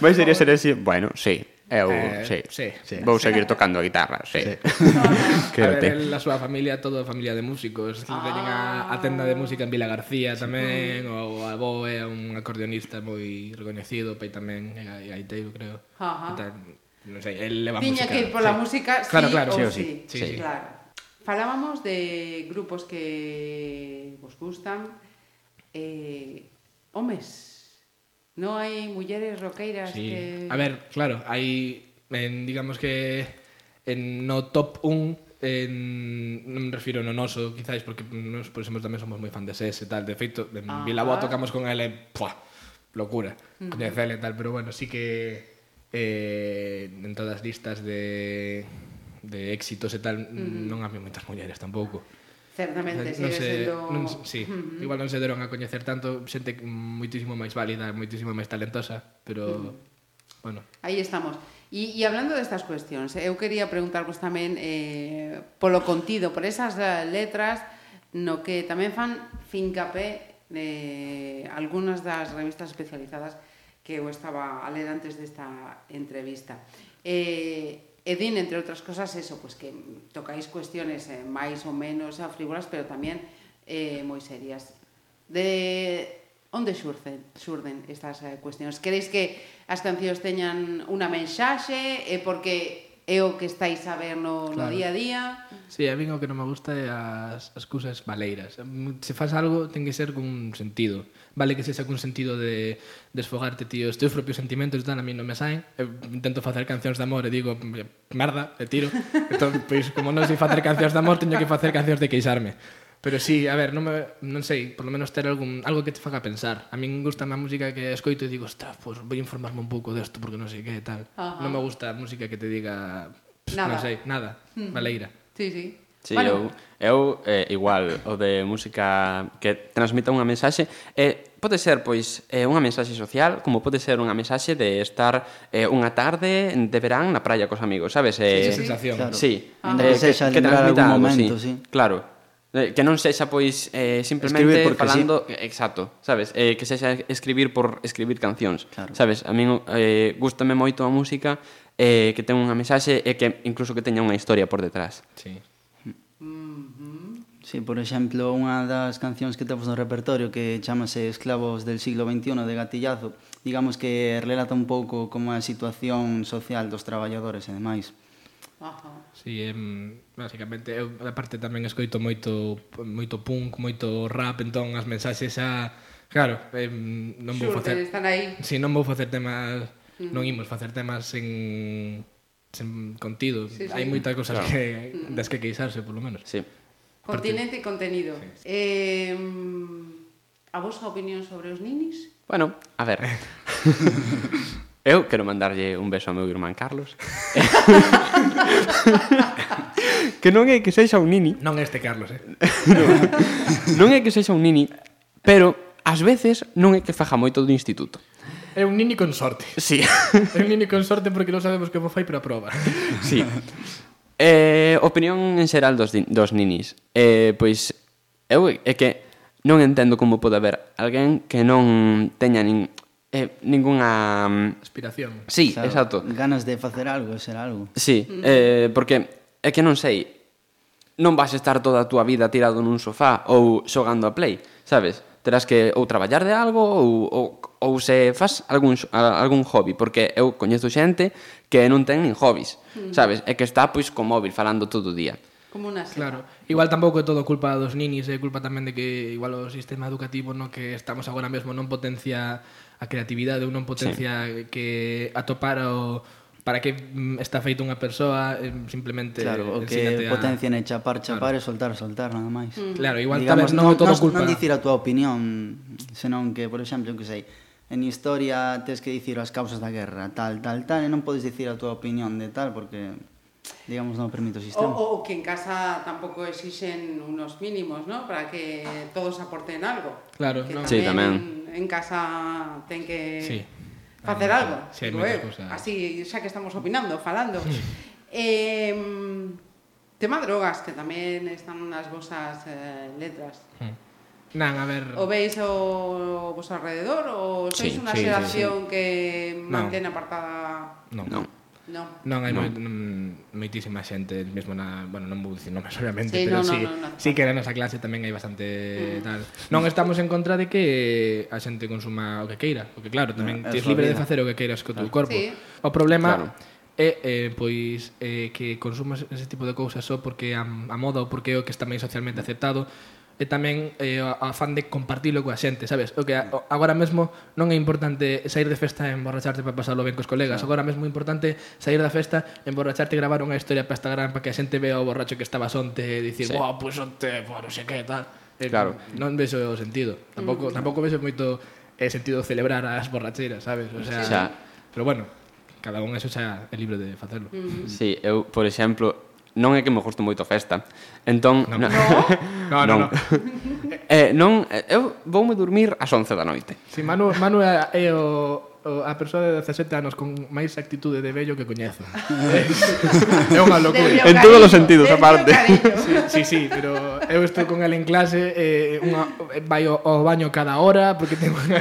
Speaker 5: Vai sería ser así, bueno, sí, eu, Uh,
Speaker 7: Eh,
Speaker 5: sí,
Speaker 7: sí, sí.
Speaker 5: vou seguir tocando a guitarra, sí. sí.
Speaker 7: A ver, en la súa familia, toda familia de músicos. Ah. Teñen a, a tenda de música en Vila García tamén, ou a Bo é un acordeonista moi recoñecido, pai tamén é ga- gaiteiro, creo.
Speaker 4: Ajá.
Speaker 7: E tal, Non sei, él leva
Speaker 4: Tiña
Speaker 7: música.
Speaker 4: que ir pola música, sí
Speaker 7: Claro, claro,
Speaker 4: ou
Speaker 7: sí
Speaker 4: sí.
Speaker 7: ou sí. Sí, sí.
Speaker 4: Claro. Falábamos de grupos que vos gustan. Eh, homes. No hai mulleres roqueiras
Speaker 7: Sí.
Speaker 4: que...
Speaker 7: A ver, claro, hai en digamos que en no top 1 en, non me refiro no noso, quizáis, porque nos, por exemplo, tamén somos moi fan de SES e tal. De feito, en
Speaker 4: Ajá.
Speaker 7: Bilbao tocamos con ela e, pua, locura. Uh -huh. e tal, pero bueno, sí que eh, en todas as listas de, de éxitos e tal, uh -huh. non había moitas mulleres tampouco.
Speaker 4: Certamente,
Speaker 7: non
Speaker 4: sigue
Speaker 7: se,
Speaker 4: sendo...
Speaker 7: non, se- sí, uh -huh. igual non se deron a coñecer tanto xente muitísimo máis válida, muitísimo máis talentosa, pero uh -huh. bueno,
Speaker 4: Aí estamos. E, e hablando destas cuestións, eh, eu quería preguntarvos tamén eh, polo contido, por esas eh, letras no que tamén fan fincapé eh, algunhas das revistas especializadas que eu estaba a ler antes desta entrevista. Eh, e din, entre outras cosas, eso, pues que tocáis cuestiones eh, máis ou menos eh, frívolas, pero tamén eh, moi serias. De onde xurden, xurden estas eh, cuestións? Quereis que as cancións teñan unha mensaxe e porque é o que estáis a ver no, claro. no
Speaker 7: Claro.
Speaker 4: día a día?
Speaker 7: Sí, a min o que non me gusta é as, as cousas baleiras. Se faz algo, ten que ser cun sentido. Vale que se xa cun sentido de desfogarte, tío, os teus propios sentimentos dan a mí non me saen. Eu intento facer cancións de amor e digo, merda, e tiro. Entón, pois, como non sei facer cancións de amor, teño que facer cancións de queixarme. Pero sí, a ver, non, me, non sei, por lo menos ter algún, algo que te faga pensar. A min gusta a música que escoito e digo, ostras, pois pues, vou informarme un pouco desto porque non sei que e tal.
Speaker 4: Ajá.
Speaker 7: Non me gusta a música que te diga, pff,
Speaker 4: Nada. Hmm.
Speaker 7: non sei, nada, baleira.
Speaker 4: Sí, sí.
Speaker 5: Sí, eu, eu eh, igual, o de música que transmita unha mensaxe, eh, pode ser, pois, eh, unha mensaxe social, como pode ser unha mensaxe de estar eh, unha tarde de verán na praia cos amigos, sabes? Eh,
Speaker 7: Esa sensación.
Speaker 1: Claro. Ah.
Speaker 5: Sí, Eh,
Speaker 1: Ainda que sexa
Speaker 5: transmita
Speaker 1: lembrar algún
Speaker 5: algo,
Speaker 1: momento, sí.
Speaker 5: Claro. Eh, Que non sexa, pois, eh,
Speaker 1: Escribir
Speaker 5: simplemente
Speaker 1: porque
Speaker 5: falando... Sí. Exacto, sabes? Eh, que sexa escribir por escribir cancións.
Speaker 1: Claro.
Speaker 5: Sabes? A min eh, gustame moito a música eh, que ten unha mensaxe e que incluso que teña unha historia por detrás.
Speaker 7: Sí.
Speaker 1: Sí, por exemplo, unha das cancións que temos no repertorio que chamase Esclavos del siglo XXI de Gatillazo, digamos que relata un pouco como é a situación social dos traballadores e demais.
Speaker 4: Ajá.
Speaker 7: Sí, em, basicamente eu aparte tamén escoito moito moito punk, moito rap, entón as mensaxes xa claro, em, non vou
Speaker 4: Xurden,
Speaker 7: facer
Speaker 4: están aí.
Speaker 7: si non vou facer temas,
Speaker 4: Mm.
Speaker 7: non imos facer temas sen sen contido.
Speaker 4: Sí, sí.
Speaker 7: Hai moitas cousas claro. que das que queixarse, polo menos.
Speaker 5: Sí.
Speaker 4: Continente e contenido. Eh, A vosa opinión sobre os ninis?
Speaker 5: Bueno, a ver. Eu quero mandarlle un beso ao meu irmán Carlos. que non é que sexa un nini,
Speaker 7: Non este Carlos, eh.
Speaker 5: non é que sexa un nini, pero ás veces non é que faja moito do instituto.
Speaker 7: É un nini con sorte.
Speaker 5: Sí.
Speaker 7: É un nini con sorte porque non sabemos como fai, pero aproba.
Speaker 5: Sí. Eh, opinión en xeral dos, din- dos ninis. Eh, pois eu é que non entendo como pode haber alguén que non teña nin, eh, ningunha... mm,
Speaker 7: Aspiración.
Speaker 5: Sí,
Speaker 1: Sabe,
Speaker 5: exacto.
Speaker 1: Ganas de facer algo, ser algo.
Speaker 5: Sí, eh, porque é que non sei, non vas estar toda a túa vida tirado nun sofá ou xogando a play, sabes? Terás que ou traballar de algo ou, ou, ou se fas algún, xo- a- algún hobby, porque eu coñezo xente que non ten nin hobbies, sabes? É que está pois co móvil falando todo o día.
Speaker 4: Como una seta.
Speaker 7: Claro, igual tampouco é todo culpa dos ninis, é culpa tamén de que igual o sistema educativo no que estamos agora mesmo non potencia a creatividade, ou non potencia sí. que atopar o para que mm, está feito unha persoa, eh, simplemente
Speaker 1: Claro, o que
Speaker 7: ensínate
Speaker 1: potencian é chapar, chapar e soltar, soltar, nada máis.
Speaker 4: Mm.
Speaker 7: Claro, igual
Speaker 1: Digamos,
Speaker 7: tamén non é todo
Speaker 1: non,
Speaker 7: culpa.
Speaker 1: non dicir a túa opinión, senón que, por exemplo, eu que sei, en historia tes que dicir as causas da guerra, tal, tal, tal, e non podes dicir a túa opinión de tal, porque, digamos, non o
Speaker 4: O,
Speaker 1: permite o sistema.
Speaker 4: o que en casa tampoco exixen unos mínimos, ¿no? Para que todos aporten algo.
Speaker 7: Claro,
Speaker 4: que
Speaker 7: no.
Speaker 5: Sí,
Speaker 4: En casa ten que
Speaker 7: Sí.
Speaker 4: facer
Speaker 7: Ah,
Speaker 4: algo.
Speaker 7: sí, hai
Speaker 4: digo
Speaker 7: moitas
Speaker 4: eu.
Speaker 7: cousas.
Speaker 4: Así, xa que estamos opinando, falando. eh, tema drogas, que tamén están nas vosas eh, letras.
Speaker 7: Nan, a ver,
Speaker 4: O veis o vosso alrededor ou sois
Speaker 5: Sí,
Speaker 4: unha
Speaker 7: sí, sí,
Speaker 4: xeración que
Speaker 7: No.
Speaker 4: mantén apartada...
Speaker 7: non.
Speaker 5: Non.
Speaker 4: No.
Speaker 7: Non hai moi, mm, moitísima xente, mesmo na, bueno, non vou dicir nomes obviamente,
Speaker 4: Sí,
Speaker 7: pero
Speaker 4: non, non,
Speaker 7: sí,
Speaker 4: non, non.
Speaker 7: sí que na nosa clase tamén hai bastante tal. Non estamos en contra de que a xente consuma o que queira, porque claro, tamén no,
Speaker 1: No, é
Speaker 7: tes
Speaker 1: súa
Speaker 7: libre de
Speaker 1: vida.
Speaker 7: facer o que queiras co teu corpo.
Speaker 4: Sí.
Speaker 7: O problema
Speaker 5: Claro.
Speaker 7: claro. é eh, pois eh, que consumas ese tipo de cousas só porque a, a moda ou porque é o que está máis socialmente aceptado e tamén eh, o afán de compartilo coa xente, sabes? O que a, o- agora mesmo non é importante sair de festa e emborracharte para pasarlo ben cos colegas. Agora mesmo é importante sair da festa, emborracharte e gravar unha historia para Instagram para que a xente vea o borracho que estabas onte e dicir,
Speaker 5: Sí.
Speaker 7: "Buah, pois onte, buah, non sei que tal." Eh,
Speaker 5: Claro.
Speaker 7: Non vexo o sentido. Tampouco tampouco vexo moito eh, sentido celebrar as borracheras, sabes? O sea,
Speaker 5: Xa.
Speaker 7: pero bueno, cada un eso xa é libre de facelo.
Speaker 5: Sí, eu, por exemplo, non é que me gusto moito a festa. Entón,
Speaker 7: No.
Speaker 5: na-
Speaker 7: No, no, no.
Speaker 5: eh, non, eh, eu voume dormir ás 11 da noite.
Speaker 7: Si Manu, Manu é, é o, o a persoa de 17 anos con máis actitude de vello que coñezo. é unha
Speaker 4: Desde
Speaker 7: locura.
Speaker 4: o
Speaker 5: En todos
Speaker 4: cariño,
Speaker 5: os sentidos,
Speaker 4: desde o
Speaker 5: aparte.
Speaker 4: cariño.
Speaker 7: Sí, sí, pero eu estou con el en clase eh, unha, vai ao, ao baño cada hora porque ten unha,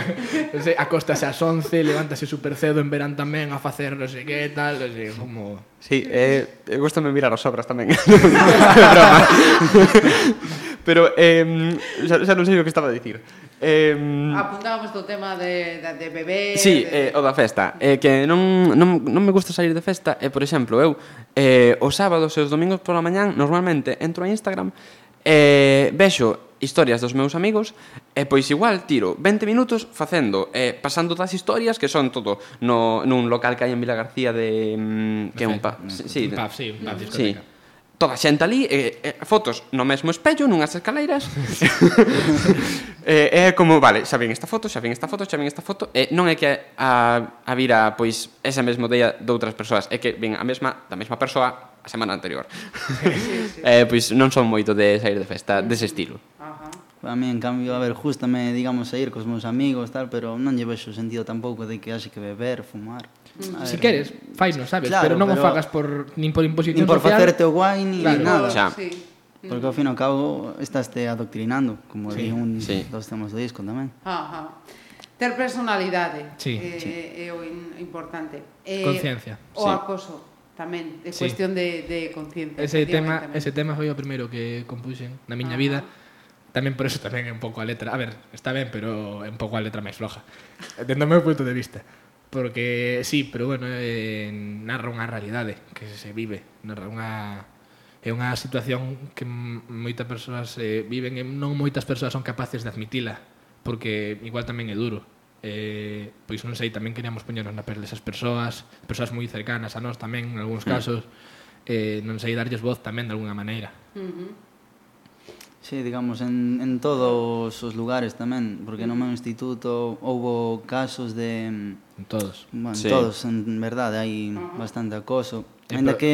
Speaker 7: non sei, acóstase ás 11 levántase super cedo en verán tamén a facer non sei que tal non sei, como
Speaker 5: Sí, eh, eh, gustame mirar as obras tamén. Broma. Pero eh, xa, xa non sei o que estaba a dicir. Eh,
Speaker 4: Apuntábamos do tema de, de, de bebé...
Speaker 5: Sí,
Speaker 4: de...
Speaker 5: eh, o da festa eh, Que non, non, non me gusta salir de festa E, eh, por exemplo, eu eh, Os sábados e os domingos pola mañán Normalmente entro a Instagram eh, Vexo historias dos meus amigos E pois igual tiro 20 minutos facendo eh, Pasando das historias que son todo no, Nun local que hai en Vila García de... Mm, que é un pub sí, sí,
Speaker 7: un pub, sí, un
Speaker 5: sí.
Speaker 7: pub discoteca.
Speaker 5: Toda a xente ali, eh, eh, fotos no mesmo espello, nunhas escaleiras. eh, é como, vale, xa vin esta foto, xa vin esta foto, xa vin esta foto. Eh, non é que a, a vira, pois, ese mesmo día de outras persoas, é que vin a mesma, da mesma persoa a semana anterior. eh, pois non son moito de sair de festa dese estilo.
Speaker 4: Ajá.
Speaker 1: A mí, en cambio, a ver, justa me, digamos, a ir cos meus amigos, tal, pero non lle vexo sentido tampouco de que haxe que beber, fumar. A
Speaker 7: Si
Speaker 1: ver,
Speaker 7: queres, faino, sabes,
Speaker 1: Claro,
Speaker 7: pero non o
Speaker 1: pero-
Speaker 7: fagas por nin por imposición
Speaker 1: Nin por
Speaker 7: social.
Speaker 1: facerte o guai, ni
Speaker 7: Claro.
Speaker 1: nada.
Speaker 5: Xa.
Speaker 4: Sí.
Speaker 1: Porque ao fin e ao cabo estás te adoctrinando, como sí, di un
Speaker 5: sí.
Speaker 1: sí. dos temas do disco tamén.
Speaker 4: Ajá. Ter personalidade
Speaker 7: Sí,
Speaker 4: eh,
Speaker 7: sí.
Speaker 4: é o in- importante. Eh,
Speaker 7: Conciencia,
Speaker 4: O
Speaker 5: sí.
Speaker 4: acoso tamén, é
Speaker 7: Sí.
Speaker 4: cuestión de, de conciencia.
Speaker 7: Ese tema,
Speaker 4: efectivamente.
Speaker 7: ese tema foi o primeiro que compuxen na miña vida. Tamén por eso tamén é un pouco a letra. A ver, está ben, pero é un pouco a letra máis floja. Dendo o meu punto de vista. Porque sí, pero bueno, eh, narra unha realidade que se vive, narra unha é unha situación que m- moitas persoas eh, viven e non moitas persoas son capaces de admitila, porque igual tamén é duro. Eh, pois non sei, tamén queríamos poñernos na pel desas persoas, persoas moi cercanas a nós tamén, en algúns casos, eh, non sei, darlles voz tamén de alguna maneira.
Speaker 1: Sí, digamos, en, en todos os lugares tamén, porque no meu instituto houbo casos de... mm,
Speaker 7: En todos.
Speaker 1: Bueno,
Speaker 5: Sí.
Speaker 1: sí. todos, en verdade, hai bastante acoso.
Speaker 7: Eh,
Speaker 1: Ainda
Speaker 7: pero-
Speaker 1: que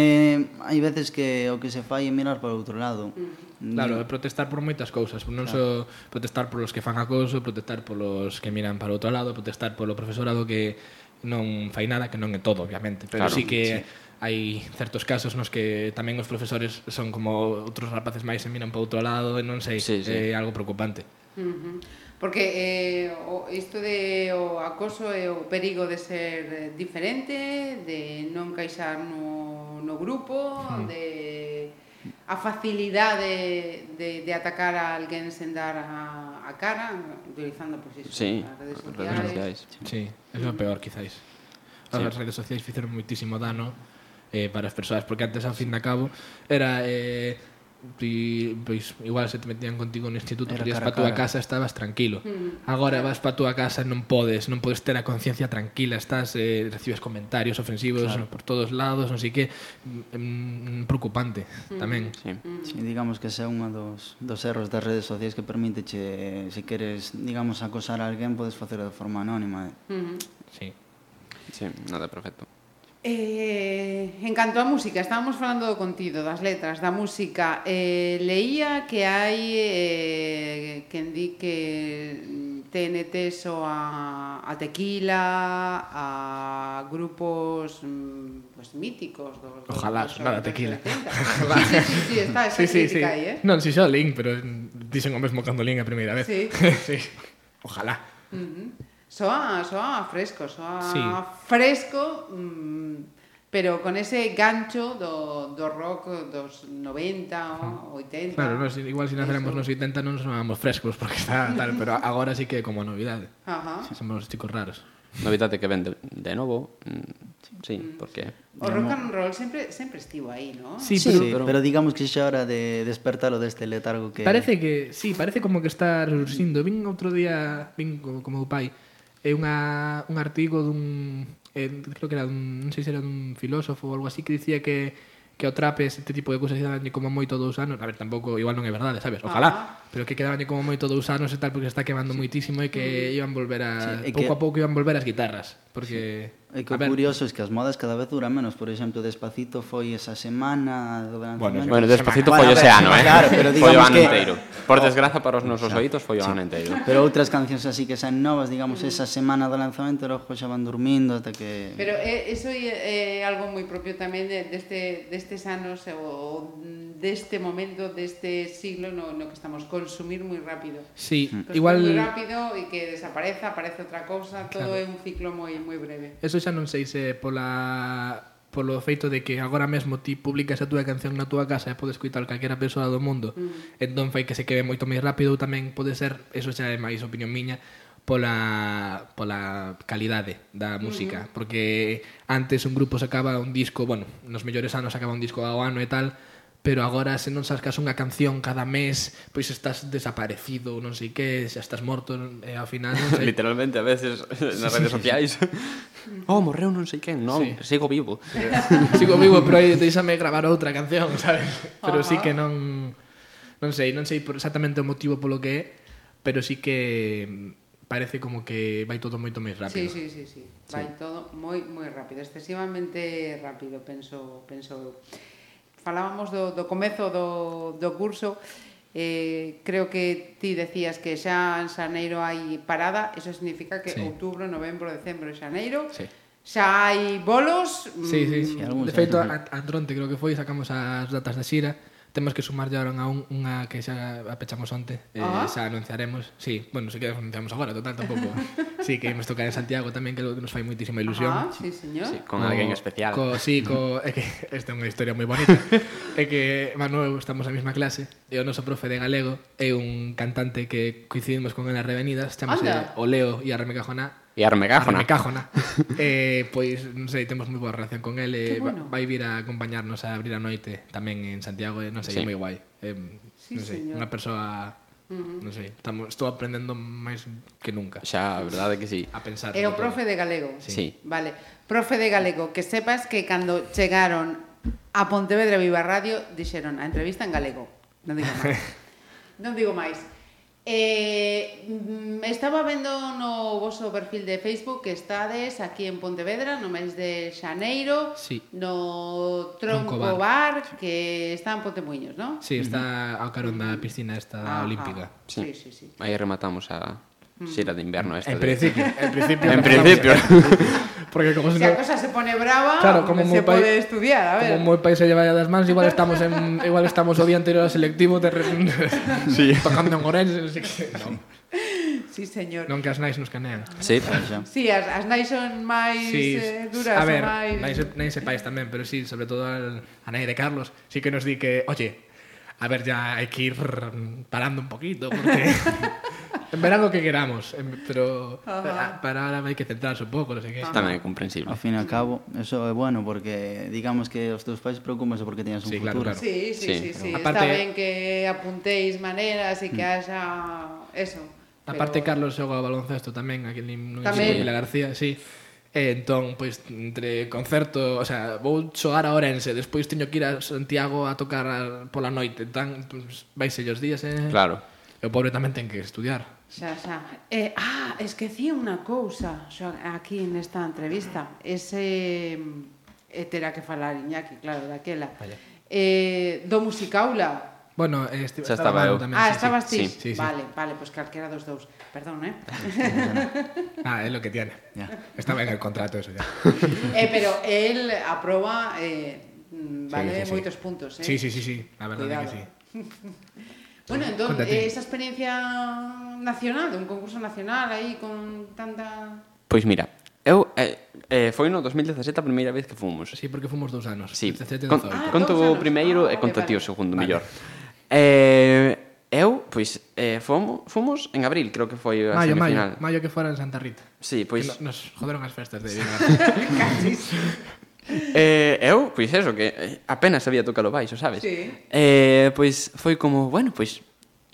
Speaker 1: hai veces que o que se fai é mirar para outro lado. Mm.
Speaker 7: Claro, é protestar por moitas cousas, non só protestar polos que fan acoso, protestar polos que miran para outro lado, protestar polo profesorado que non fai nada, que non é todo, obviamente,
Speaker 5: Claro,
Speaker 7: pero claro, sí que sí. hai certos casos nos que tamén os profesores son como outros rapaces máis e miran para outro lado, e non sei,
Speaker 5: Sí,
Speaker 7: sí,
Speaker 5: sí.
Speaker 7: sí. é algo preocupante.
Speaker 4: Ujú. Porque eh, o, isto de o acoso é o perigo de ser eh, diferente, de non caixar no, no grupo, de a facilidade de, de atacar a alguén sen dar a, a cara, utilizando pois, iso,
Speaker 5: Sí,
Speaker 4: as redes
Speaker 5: as
Speaker 4: sociais.
Speaker 5: redes sociais.
Speaker 7: Sí, é o peor, quizáis. As sí. redes sociais fixeron moitísimo dano eh, para as persoas, porque antes, ao fin de cabo, era... Eh, ti, pois, igual se te metían contigo no instituto,
Speaker 1: Era
Speaker 7: pero ibas
Speaker 1: cara a
Speaker 7: para túa
Speaker 1: cara.
Speaker 7: casa estabas tranquilo.
Speaker 4: Mm.
Speaker 7: Agora vas para túa casa e non podes, non podes ter a conciencia tranquila, estás eh, recibes comentarios ofensivos claro. por todos lados, non sei que, mm, mm, preocupante tamén.
Speaker 5: Sí.
Speaker 1: Sí, digamos que ese é unha dos, dos erros das redes sociais que permite che, se queres, digamos, acosar a alguén, podes facelo de forma anónima.
Speaker 4: Ujú.
Speaker 7: Sí.
Speaker 5: Sí, nada, perfecto.
Speaker 4: Eh, en canto á música, estábamos falando do contido, das letras, da música. Eh, leía que hai eh, quen di que TNT só a, a tequila, a grupos mm, pues, míticos dos, dos,
Speaker 7: Ojalá
Speaker 4: dos
Speaker 7: sonara
Speaker 4: 80.
Speaker 7: Tequila.
Speaker 4: Sí, sí, sí, sí, está esa crítica aí, eh?
Speaker 7: Non, si xa Link, pero dicen o mesmo cando Link a primeira vez.
Speaker 4: Sí.
Speaker 7: sí. Ojalá.
Speaker 4: Soa, soa fresco, soa
Speaker 7: Sí.
Speaker 4: fresco, mm, pero con ese gancho do, do rock dos 90 o 80.
Speaker 7: Claro, nos, igual se naceramos
Speaker 4: Eso.
Speaker 7: nos 80 non sonábamos frescos porque está tal, pero agora sí que é como a novidade.
Speaker 4: Ajá.
Speaker 7: Somos os chicos raros.
Speaker 5: Novidade que vende de novo, mm, sí, porque
Speaker 4: O rock and roll sempre sempre estivo aí, ¿no?
Speaker 7: Sí,
Speaker 1: Sí,
Speaker 7: pero
Speaker 1: pero, pero digamos que xa é hora de despertalo deste letargo que...
Speaker 7: parece que sí, parece como que está resurxindo. Vin outro día, vin co- como o pai, é unha un artigo dun eh, creo que era dun, non sei se era dun filósofo ou algo así que dicía que que o trap e este tipo de cousas dañe como moito dous anos. A ver, tampouco, igual non é verdade, sabes? Ojalá. Pero que quedabanlle como moito dous anos e tal porque se está quemando sí. moitísimo e que iban volver a...
Speaker 1: Sí,
Speaker 7: Sí,
Speaker 1: e
Speaker 7: pouco
Speaker 1: que-
Speaker 7: a pouco iban volver as guitarras. Porque...
Speaker 1: E eh, que
Speaker 7: a
Speaker 1: o curioso é que as modas cada vez duran menos. Por exemplo, Despacito foi esa semana do
Speaker 7: Bueno,
Speaker 1: lanzamento.
Speaker 5: Bueno, despacito
Speaker 1: Bueno,
Speaker 5: foi
Speaker 1: a
Speaker 5: ese
Speaker 1: ver,
Speaker 5: ano, eh.
Speaker 1: claro, pero
Speaker 5: foi o
Speaker 1: digamos
Speaker 5: ano
Speaker 1: que-
Speaker 5: inteiro. Por desgraza para os nosos oídos foi o ano inteiro.
Speaker 1: Pero outras cancións así que saen novas, digamos, esa semana do lanzamento, logo xa van durmindo ata que...
Speaker 4: Pero é, eso é, é algo moi propio tamén de, eh, deste, destes anos ou mm, deste momento, deste siglo no, no que estamos consumir moi rápido.
Speaker 7: Sí,
Speaker 4: Consumir
Speaker 7: igual...
Speaker 4: moi rápido e Mm. que desapareza, aparece outra cousa, todo
Speaker 7: Claro.
Speaker 4: é un ciclo moi moi breve.
Speaker 7: Eso xa non sei se pola polo feito de que agora mesmo ti publicas a túa canción na túa casa e podes coitar calquera persoa do mundo mm. entón fai que se quede moito máis rápido ou tamén pode ser, eso xa é máis opinión miña pola, pola calidade da música mm. porque antes un grupo sacaba un disco bueno, nos mellores anos sacaba un disco ao ano e tal pero agora se non sacas unha canción cada mes pois estás desaparecido non sei que, xa estás morto e ao final non sei
Speaker 5: Literalmente a veces nas redes sociais. Oh, morreu non sei quen, non,
Speaker 7: Sí.
Speaker 5: sigo vivo.
Speaker 7: Sigo vivo, pero aí deixame gravar outra canción, sabes? Pero sí que non non sei, non sei por- exactamente o motivo polo que é, pero sí que mm, parece como que vai todo moito máis
Speaker 4: Sí,
Speaker 7: rápido.
Speaker 4: sí, sí, sí. Vai todo moi moi rápido, excesivamente rápido, penso, penso eu. Falábamos do, do comezo do, do curso, eh, creo que ti decías que xa en Xaneiro hai parada, eso significa que sí.
Speaker 7: Sí.
Speaker 4: outubro, novembro, decembro e Xaneiro
Speaker 7: Sí.
Speaker 4: xa hai bolos, mm,
Speaker 7: Sí, sí, sí.
Speaker 1: Sí, algúns
Speaker 7: De feito, a, a Tronte creo que foi, sacamos as datas da xira, temos que sumar ahora a un, unha que xa a pechamos onte, eh,
Speaker 4: Ah.
Speaker 7: xa anunciaremos. Sí, bueno, se que anunciamos agora, total, tampouco. sí, que imos tocar en Santiago tamén, que é algo que nos fai moitísima ilusión.
Speaker 4: Ah, sí, señor.
Speaker 5: Sí, con alguén especial.
Speaker 7: Co, sí, co, é que esta é unha historia moi bonita. é que Manuel estamos na mesma clase e o noso profe de galego é un cantante que coincidimos con el nas revenidas, chamase
Speaker 4: Anda.
Speaker 7: o Leo e Arme Cajoná.
Speaker 5: E Armegáfona.
Speaker 7: Armecájona. eh, pois, non sei, temos moi boa relación con el
Speaker 4: Qué
Speaker 7: e va-
Speaker 4: bueno.
Speaker 7: vai vir a acompañarnos a abrir a noite tamén en Santiago e non
Speaker 5: Sí.
Speaker 7: sei, é moi guai. Eh,
Speaker 4: Sí,
Speaker 7: non sei,
Speaker 4: señor. Mm-hmm.
Speaker 7: unha persoa non sei, estamos, estou aprendendo máis que nunca
Speaker 5: Xa, a verdade que sí.
Speaker 7: a pensar.
Speaker 4: É o
Speaker 7: sobre
Speaker 4: profe de galego.
Speaker 5: Sí.
Speaker 4: Vale. Profe de galego, que sepas que cando "Ah, chegaron a Pontevedra Viva Radio dixeron a entrevista en galego. Non digo máis. non digo máis. Eh, mm, estaba vendo no voso perfil de Facebook que estades aquí en Pontevedra no mes de Xaneiro
Speaker 7: Sí.
Speaker 4: no Tronco
Speaker 7: Tronco
Speaker 4: Bar, que está en Pontemuiños, non?
Speaker 7: Sí, está ao carón da piscina esta
Speaker 4: Ajá.
Speaker 7: olímpica.
Speaker 4: Sí, sí, sí.
Speaker 5: Aí rematamos a xira de inverno esta.
Speaker 7: En
Speaker 5: de-
Speaker 7: principio, en principio.
Speaker 5: En principio.
Speaker 7: Porque como se
Speaker 4: Se a cosa se pone brava,
Speaker 7: Claro, como
Speaker 4: se
Speaker 7: moi pai-
Speaker 4: pode estudiar, a ver.
Speaker 7: Como moi país se lleva das mans, igual estamos en igual estamos o día anterior ao selectivo de sí. tocando en Orense, non sei que. Non,
Speaker 4: Sí, señor.
Speaker 7: non que as nais nos canean.
Speaker 5: Sí,
Speaker 4: Sí, as, as nais son máis
Speaker 7: Sí,
Speaker 4: eh, duras,
Speaker 7: a ver,
Speaker 4: son máis...
Speaker 7: nais, nais e pais tamén, pero sí, sobre todo al, a nai de Carlos, sí que nos di que, oye, a ver, ya hai que ir parando un poquito, porque en verano que queramos, en- pero
Speaker 4: Ajá.
Speaker 7: para, para ahora hai que centrarse un pouco, non sei que.
Speaker 5: tamén é comprensible.
Speaker 1: Ao fin e ao cabo, eso é bueno porque digamos que os teus pais preocupanse porque teñas un
Speaker 7: Sí, claro, claro.
Speaker 1: futuro.
Speaker 4: Sí, sí, sí, sí,
Speaker 5: Sí, pero-
Speaker 4: está
Speaker 7: Aparte- Mm.
Speaker 4: ben que apuntéis maneras e que haya eso.
Speaker 7: Aparte,
Speaker 4: pero-
Speaker 7: Carlos xoga ao baloncesto tamén, aquí
Speaker 4: Tamén.
Speaker 7: en tamén. Vila García, sí. E entón, pois, entre concerto, o sea, vou xogar a Orense, despois teño que ir a Santiago a tocar a, pola noite, tan, pois, vais sellos días, eh?
Speaker 5: Claro.
Speaker 7: E o pobre tamén ten que estudiar.
Speaker 4: Xa, xa. Eh, ah, esqueci unha cousa xa, aquí nesta entrevista. Ese eh, terá que falar Iñaki, claro, daquela.
Speaker 7: Vaya.
Speaker 4: Eh, do musicaula.
Speaker 7: Bueno, eh, este,
Speaker 5: Xa estaba eu.
Speaker 7: Manu
Speaker 4: ah,
Speaker 7: sí,
Speaker 4: estabas
Speaker 7: sí.
Speaker 4: ti.
Speaker 7: Sí, sí, sí.
Speaker 4: Vale, vale, pois pues calquera dos dous. Perdón, eh?
Speaker 7: Ah, é lo que tiene.
Speaker 1: Ya.
Speaker 7: Estaba en el contrato eso ya.
Speaker 4: eh pero el aproba eh, mm, vale
Speaker 7: sí, sí.
Speaker 4: moitos puntos, eh?
Speaker 7: Sí, sí, sí, sí, la verdade
Speaker 4: Cuidado.
Speaker 7: que sí.
Speaker 4: Bueno,
Speaker 7: Pues,
Speaker 4: entón,
Speaker 7: Contate.
Speaker 4: eh, esa experiencia nacional, de un concurso nacional aí con tanta...
Speaker 5: Pois mira, eu eh, eh, foi no 2017 a primeira vez que fomos.
Speaker 7: Sí, porque fomos dous anos.
Speaker 5: Sí.
Speaker 7: 17 e
Speaker 5: Con,
Speaker 7: 18.
Speaker 4: Ah,
Speaker 5: conto
Speaker 4: dous
Speaker 5: o
Speaker 4: anos. Ah,
Speaker 5: primeiro e
Speaker 4: vale,
Speaker 5: conto ti o
Speaker 4: vale.
Speaker 5: segundo
Speaker 7: Vale.
Speaker 5: mellor. Eh, eu, pois, eh, fomos, fomos en abril, creo que foi a
Speaker 7: Maio,
Speaker 5: semifinal.
Speaker 7: maio, maio que fora en Santa Rita.
Speaker 5: Sí, pues pois,
Speaker 7: Pois... Nos joderon as festas de Viga.
Speaker 5: eh, eu, pois eso, que eh, apenas sabía tocar o baixo, sabes?
Speaker 4: Sí.
Speaker 5: Eh, pois foi como, bueno, pois,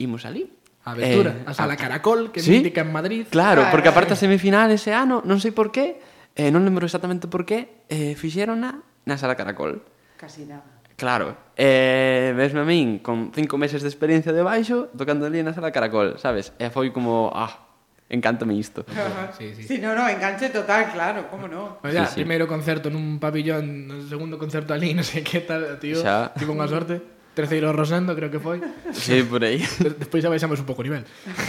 Speaker 5: imos ali.
Speaker 7: A aventura,
Speaker 5: Eh,
Speaker 7: eh, a sala Caracol, que
Speaker 5: sí.
Speaker 7: sí? mítica en Madrid.
Speaker 4: Claro,
Speaker 5: Claro, porque
Speaker 4: sí.
Speaker 5: aparte a semifinal ese ano, non sei por qué, eh, non lembro exactamente por qué, eh, fixeron na, na sala Caracol.
Speaker 4: Casi nada.
Speaker 5: Claro, eh, vesme a min con cinco meses de experiencia de baixo tocando ali na sala Caracol, sabes? E foi como, ah, encántame isto.
Speaker 7: Sí, sí.
Speaker 4: Sí, no, no, enganche total, claro, cómo no.
Speaker 7: Pues ya,
Speaker 5: Sí, sí.
Speaker 7: primeiro concerto nun pabillón, no segundo concerto ali, non sei que tal, tío.
Speaker 5: Xa.
Speaker 7: Tivo unha sorte. Terceiro Rosendo, creo que foi.
Speaker 5: Sí, por aí.
Speaker 7: De- Despois xa baixamos un pouco o nivel.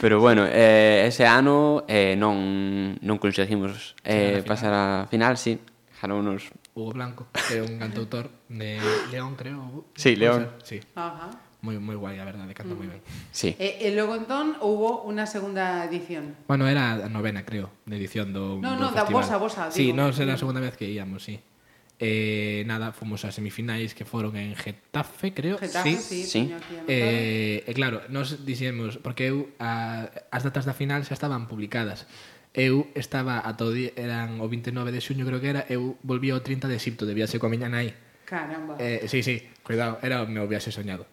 Speaker 5: Pero bueno, eh, ese ano eh, non, non conseguimos eh,
Speaker 7: Chegar á final.
Speaker 5: pasar a final, sí. Jarounos...
Speaker 7: Hugo Blanco, que é un cantautor de León, creo.
Speaker 5: Sí,
Speaker 7: Pode
Speaker 5: León.
Speaker 7: ser? Sí.
Speaker 4: Ajá.
Speaker 7: Moi moi guai, a verdade, canta
Speaker 4: Mm.
Speaker 7: moi ben.
Speaker 5: Sí.
Speaker 4: E, e logo entón houbo unha segunda edición.
Speaker 7: Bueno, era a novena, creo, de edición do
Speaker 4: No, no,
Speaker 7: do
Speaker 4: da
Speaker 7: festival.
Speaker 4: vosa, vosa,
Speaker 7: Sí,
Speaker 4: digo.
Speaker 7: no, era a segunda vez que íamos, sí. Eh, nada, fomos a semifinais que foron en Getafe, creo.
Speaker 4: Getafe, sí,
Speaker 5: Sí, sí.
Speaker 4: teño aquí anotado.
Speaker 7: Eh, e claro, nos dixemos porque eu a, as datas da final xa estaban publicadas. Eu estaba a todo día, eran o 29 de xuño creo que era, eu volvía o 30 de Xipto de viaxe coa miña nai.
Speaker 4: Caramba.
Speaker 7: Eh, sí, sí, cuidado, era o meu viaxe soñado.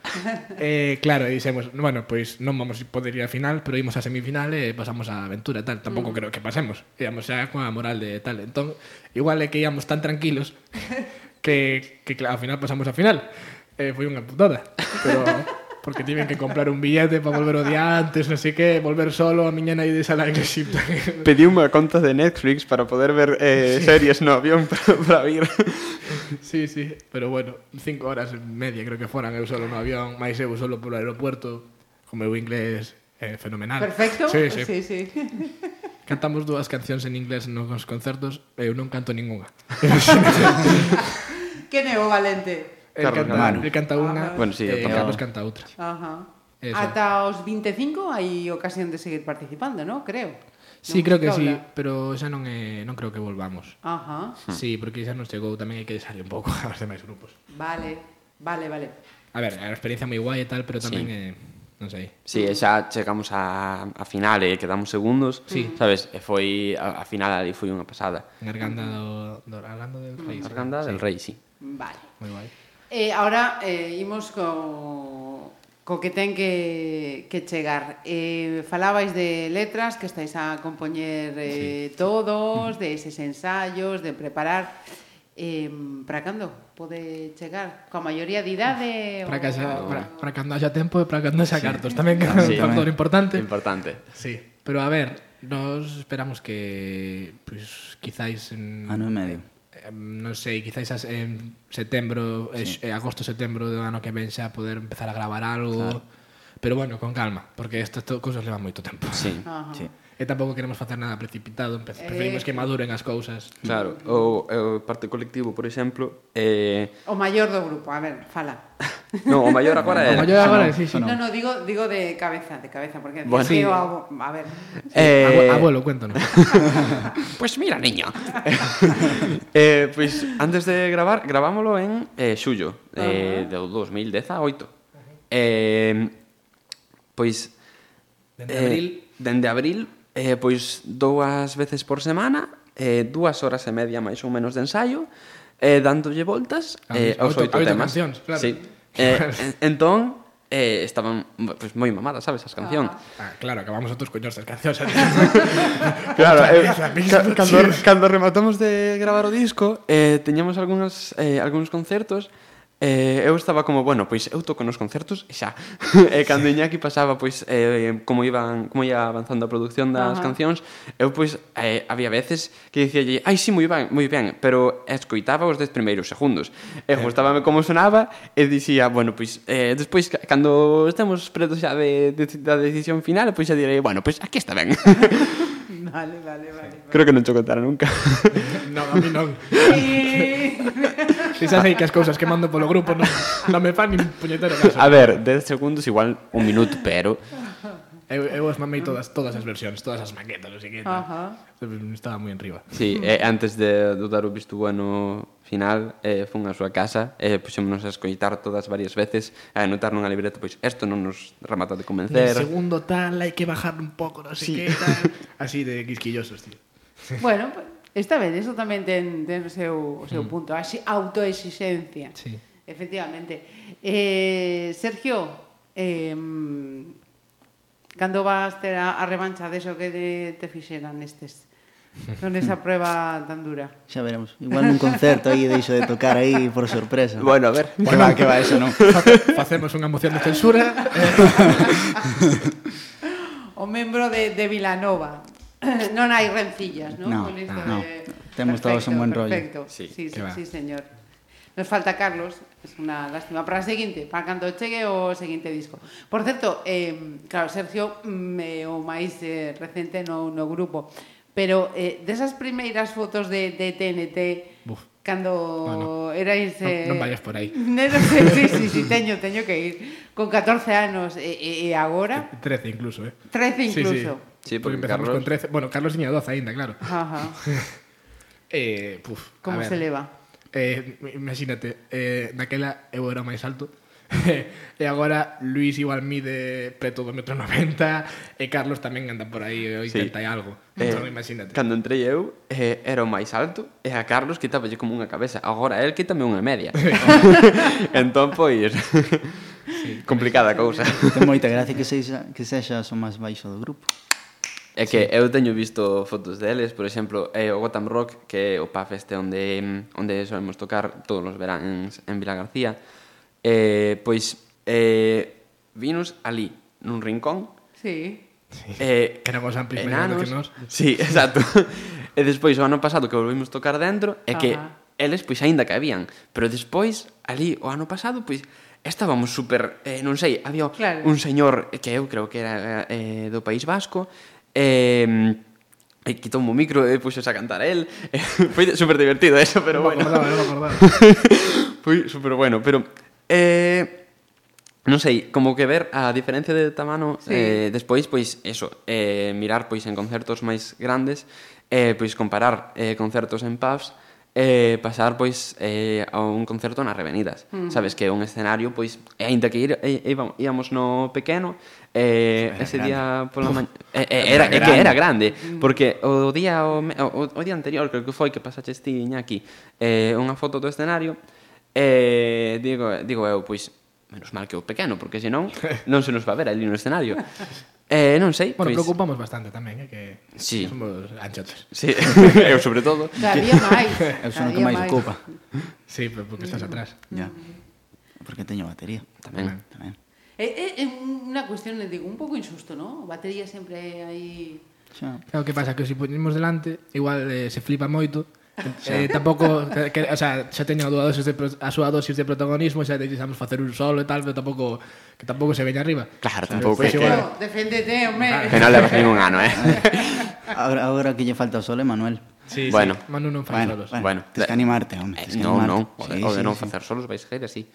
Speaker 7: eh, claro, e dixemos, bueno, pois non vamos a poder ir á final, pero imos á semifinal e pasamos á aventura, tal, tampouco creo que pasemos. Íamos xa coa moral de tal. Entón, igual é que íamos tan tranquilos que, que claro, ao final pasamos á final. Eh, foi unha putada, pero porque tiven que comprar un billete para volver o día antes, non sei que, volver solo a miña nai de sala en Egipto.
Speaker 5: Pedí unha conta de Netflix para poder ver eh, series no avión para, para vir.
Speaker 7: Sí, sí, pero bueno, cinco horas e media creo que foran eu solo no avión, máis eu solo polo aeropuerto, como meu inglés é fenomenal.
Speaker 4: Perfecto.
Speaker 7: Sí, sí. sí.
Speaker 4: sí. sí.
Speaker 7: Cantamos dúas cancións en inglés nos concertos, eh, eu non canto ningunha.
Speaker 4: Quen é o valente?
Speaker 7: El
Speaker 5: Carlos
Speaker 7: canta,
Speaker 5: Gamano.
Speaker 7: el
Speaker 4: Ah,
Speaker 7: canta unha,
Speaker 5: Bueno, sí, eh, eu
Speaker 7: e
Speaker 5: tamén.
Speaker 7: Carlos canta outra.
Speaker 4: Ajá.
Speaker 7: Eso.
Speaker 4: Ata os 25 hai ocasión de seguir participando, ¿no? Creo.
Speaker 7: Sí,
Speaker 4: Non
Speaker 7: creo que sí,
Speaker 4: habla.
Speaker 7: pero xa non é, non creo que volvamos.
Speaker 4: Ajá.
Speaker 5: Hmm.
Speaker 7: Sí, porque xa non chegou, tamén hai que deixarle un pouco aos demais grupos.
Speaker 4: Vale, vale, vale.
Speaker 7: A ver, é unha experiencia moi guai e tal, pero tamén
Speaker 5: Sí.
Speaker 7: é, non sei.
Speaker 5: Sí, e xa chegamos a, a final e quedamos segundos, sí. sabes? E foi, a, a final ali foi unha pasada.
Speaker 7: En Arganda
Speaker 4: Mm.
Speaker 7: do, do Arganda del Rei.
Speaker 5: Arganda del Rei, sí.
Speaker 4: Vale.
Speaker 7: Moi guai.
Speaker 4: Eh, ahora eh, imos co, co que ten que, que chegar. Eh, falabais de letras, que estáis a compoñer eh, todos, de eses ensaios, de preparar. eh, para cando pode chegar? Coa maioría de idade?
Speaker 7: Para,
Speaker 4: ou-
Speaker 7: que xa, para, para cando haxa tempo e para cando haxa cartos. Tamén que é
Speaker 5: Sí.
Speaker 7: un factor importante.
Speaker 5: Importante.
Speaker 7: Sí, pero a ver, nos esperamos que pues, quizáis en
Speaker 1: Ano e medio.
Speaker 7: eh, non sei, quizáis as- en setembro, sí. eh, agosto, setembro do ano que ven xa poder empezar a gravar algo. Claro. Pero bueno, con calma, porque estas to- cousas levan moito tempo.
Speaker 5: Sí.
Speaker 4: Ajá.
Speaker 1: Sí.
Speaker 7: E tampouco queremos facer nada precipitado, empe- preferimos que maduren as cousas.
Speaker 5: Claro, o, o parte colectivo, por exemplo, eh,
Speaker 4: O maior do grupo, a ver, fala.
Speaker 5: no, o maior agora era.
Speaker 7: Como yo agora, sí, sí.
Speaker 1: Sonó.
Speaker 4: No, no, digo, digo de cabeza, de cabeza, porque
Speaker 5: Bueno.
Speaker 4: sí, o abo- a ver,
Speaker 5: Eh,
Speaker 7: Abue- Abuelo, cuéntanos.
Speaker 5: Pues mira, niña. eh, pues antes de gravar, grabámoslo en eh, Xullo, eh, de 2018. Eh, pois...
Speaker 7: Dende abril.
Speaker 5: Eh, dende abril, eh, pois dúas veces por semana, eh, dúas horas e media máis ou menos de ensayo, eh, dándolle voltas
Speaker 7: Ah,
Speaker 5: eh,
Speaker 7: pois,
Speaker 5: aos
Speaker 7: oito-
Speaker 5: oito
Speaker 7: oito
Speaker 5: temas.
Speaker 7: cancións, claro.
Speaker 5: Sí. Eh, en- entón, eh, estaban pues, moi mamadas, sabes, as cancións.
Speaker 7: Ah, claro, acabamos outros coños das cancións.
Speaker 5: Claro,
Speaker 7: Outra
Speaker 5: eh,
Speaker 7: vez
Speaker 5: ca-
Speaker 7: a mesma,
Speaker 5: cando,
Speaker 7: sí.
Speaker 5: cando rematamos de gravar o disco, eh, teñamos algunhas, eh, algúns concertos, eh, eu estaba como, bueno, pois eu toco nos concertos e xa. e cando Iñaki pasaba, pois, eh, como iban como ia avanzando a produción das
Speaker 4: Ajá.
Speaker 5: cancións, eu, pois, eh, había veces que dicía, ai, sí, moi ben, moi ben, pero escoitaba os 10 primeiros segundos. E gustábame como sonaba e dicía, bueno, pois, eh, despois, ca- cando estemos pretos xa de, de, da decisión final, pois xa direi, bueno, pois aquí está ben.
Speaker 4: vale, vale, vale.
Speaker 5: Creo que non te contara nunca.
Speaker 7: non, a mí non.
Speaker 4: Eh,
Speaker 7: Si xa sei que as cousas que mando polo grupo non, non me fan nin puñetero caso.
Speaker 5: A ver, 10 segundos igual un minuto, pero...
Speaker 7: Eu, eu as mamei todas, todas as versións, todas as maquetas, o que e
Speaker 4: Ajá.
Speaker 7: Estaba moi en riba.
Speaker 5: Sí, eh, antes de do dar o visto bueno final, eh, fun á súa casa, eh, puxémonos a escoitar todas varias veces, a anotar nunha libreta, pois isto non nos remata de
Speaker 7: El
Speaker 5: convencer.
Speaker 7: segundo tal, hay que bajar un poco, no sé qué e tal. Así de quisquillosos, tío.
Speaker 4: bueno, pues, está ben, eso tamén ten, ten o seu, o seu punto, así, autoexixencia.
Speaker 7: Sí.
Speaker 4: Efectivamente. Eh, Sergio, eh, cando vas ter a, a revancha deso que te, te fixeran estes? Con esa prueba tan dura.
Speaker 1: Xa veremos. Igual nun concerto aí deixo de tocar aí por sorpresa.
Speaker 5: Bueno, a ver.
Speaker 1: que va, que va, eso non.
Speaker 7: Hacemos una moción de censura. eh,
Speaker 4: O membro de, de Vilanova. non hai rencillas, non?
Speaker 1: No,
Speaker 4: Con isto
Speaker 1: no. Temos todos un buen rollo.
Speaker 4: Perfecto,
Speaker 5: Sí,
Speaker 4: sí, sí,
Speaker 7: que va.
Speaker 4: sí, señor. Nos falta Carlos, es una lástima. Para a seguinte, para cando chegue o seguinte disco. Por certo, eh, claro, Sergio mm, é o máis eh, recente no, no grupo, pero eh, desas primeiras fotos de, de TNT,
Speaker 7: Buf.
Speaker 4: cando
Speaker 7: No,
Speaker 4: erais... eh,
Speaker 7: Non- non vayas por aí.
Speaker 4: Non, sei, sí, sí, sí, teño, teño que ir. Con eh, 14 anos e, e, e agora...
Speaker 7: 13 incluso, ¿eh?
Speaker 4: 13 incluso.
Speaker 5: Sí, porque
Speaker 7: empezamos
Speaker 5: Carlos-
Speaker 7: con 13. Bueno, Carlos tenía 12 ainda, claro.
Speaker 4: Ajá.
Speaker 7: Eh, puf, a
Speaker 4: Como
Speaker 7: ver.
Speaker 4: se leva?
Speaker 7: Eh, imagínate, eh, naquela eu era máis alto e agora Luis igual mide preto do metro 90 e Carlos tamén anda por aí 80
Speaker 5: Sí.
Speaker 7: e algo.
Speaker 5: Eh,
Speaker 7: Entón, imagínate.
Speaker 5: Cando entrei eu, eh, era o máis alto, e a Carlos quitaballe como unha cabeza. Agora el quítame unha e media. entón, pois... complicada a cousa.
Speaker 1: Ten moita gracia que sexa, que sexas o máis baixo do grupo.
Speaker 5: É que eu teño visto fotos deles, por exemplo, é o Gotham Rock, que é o pub este onde, mm, onde solemos tocar todos os veráns en Vila García. Eh, pois, eh, vinos ali, nun rincón,
Speaker 4: Sí.
Speaker 5: eh,
Speaker 7: Que éramos amplios
Speaker 5: enanos.
Speaker 7: que nós.
Speaker 5: Sí, exacto. e despois, o ano pasado que volvimos tocar dentro, é que
Speaker 4: Ajá.
Speaker 5: eles, pois, aínda cabían. Pero despois, ali, o ano pasado, pois, estábamos super, eh, non sei, había
Speaker 4: Claro.
Speaker 5: un señor que eu creo que era eh, do País Vasco, eh, e quitou o micro e puxos a cantar a él. Foi super divertido eso, pero
Speaker 7: non me
Speaker 5: bueno.
Speaker 7: acordaba, non me acordaba.
Speaker 5: Foi super bueno, pero eh non sei, como que ver a diferencia de tamano
Speaker 4: Sí.
Speaker 5: eh despois pois eso, eh mirar pois en concertos máis grandes, eh pois comparar eh concertos en pubs eh pasar pois eh a un concerto nas revenidas. Mm. Sabes que é un escenario pois e aínda que ir, e, e, vamos- íamos no pequeno eh ese día pola mañá eh, eh, era é que era grande, porque o día o, me- o, o día anterior creo que foi que pasaches ti Iñaki eh unha foto do escenario E digo, digo eu, pois, menos mal que o pequeno, porque senón non se nos va ver ali no escenario. Eh, non sei,
Speaker 7: Bueno,
Speaker 5: pois...
Speaker 7: preocupamos bastante tamén, eh, que
Speaker 5: Sí.
Speaker 7: somos anchotes.
Speaker 5: Sí, eu sobre todo.
Speaker 4: Cada día máis.
Speaker 1: Eu
Speaker 4: cada
Speaker 1: son o que
Speaker 4: día
Speaker 1: máis ocupa.
Speaker 7: Sí, pero porque estás atrás.
Speaker 1: Ya. Porque teño batería.
Speaker 5: Tamén.
Speaker 1: Tamén.
Speaker 4: É, é, é unha eh, cuestión, le digo, un pouco insusto, ¿no? Batería sempre aí...
Speaker 1: Xa.
Speaker 7: Claro, que pasa? Que se poñemos delante, igual eh, se flipa moito, Eh, tampouco, que, que, o sea, xa teño a, dúa dosis de, pro- a súa dosis de protagonismo, xa deixamos facer un solo e tal, pero tampouco que tampouco se veña arriba.
Speaker 5: Claro, tampouco
Speaker 7: Pois
Speaker 5: é que...
Speaker 7: igual.
Speaker 4: Claro, deféndete, home.
Speaker 7: Ah,
Speaker 5: Que non levas ningún ano, eh?
Speaker 1: Agora, agora que lle falta o sol, Manuel.
Speaker 7: Sí,
Speaker 5: Bueno.
Speaker 7: sí, Manu non fai
Speaker 1: Bueno,
Speaker 7: solos.
Speaker 1: bueno,
Speaker 5: Bueno,
Speaker 1: tens que
Speaker 5: de-
Speaker 1: animarte, home.
Speaker 5: Eh,
Speaker 1: tens que
Speaker 5: non,
Speaker 1: animarte.
Speaker 5: non, o de,
Speaker 1: Sí,
Speaker 5: o de
Speaker 1: sí,
Speaker 5: non
Speaker 1: sí.
Speaker 5: facer solos vais caer así.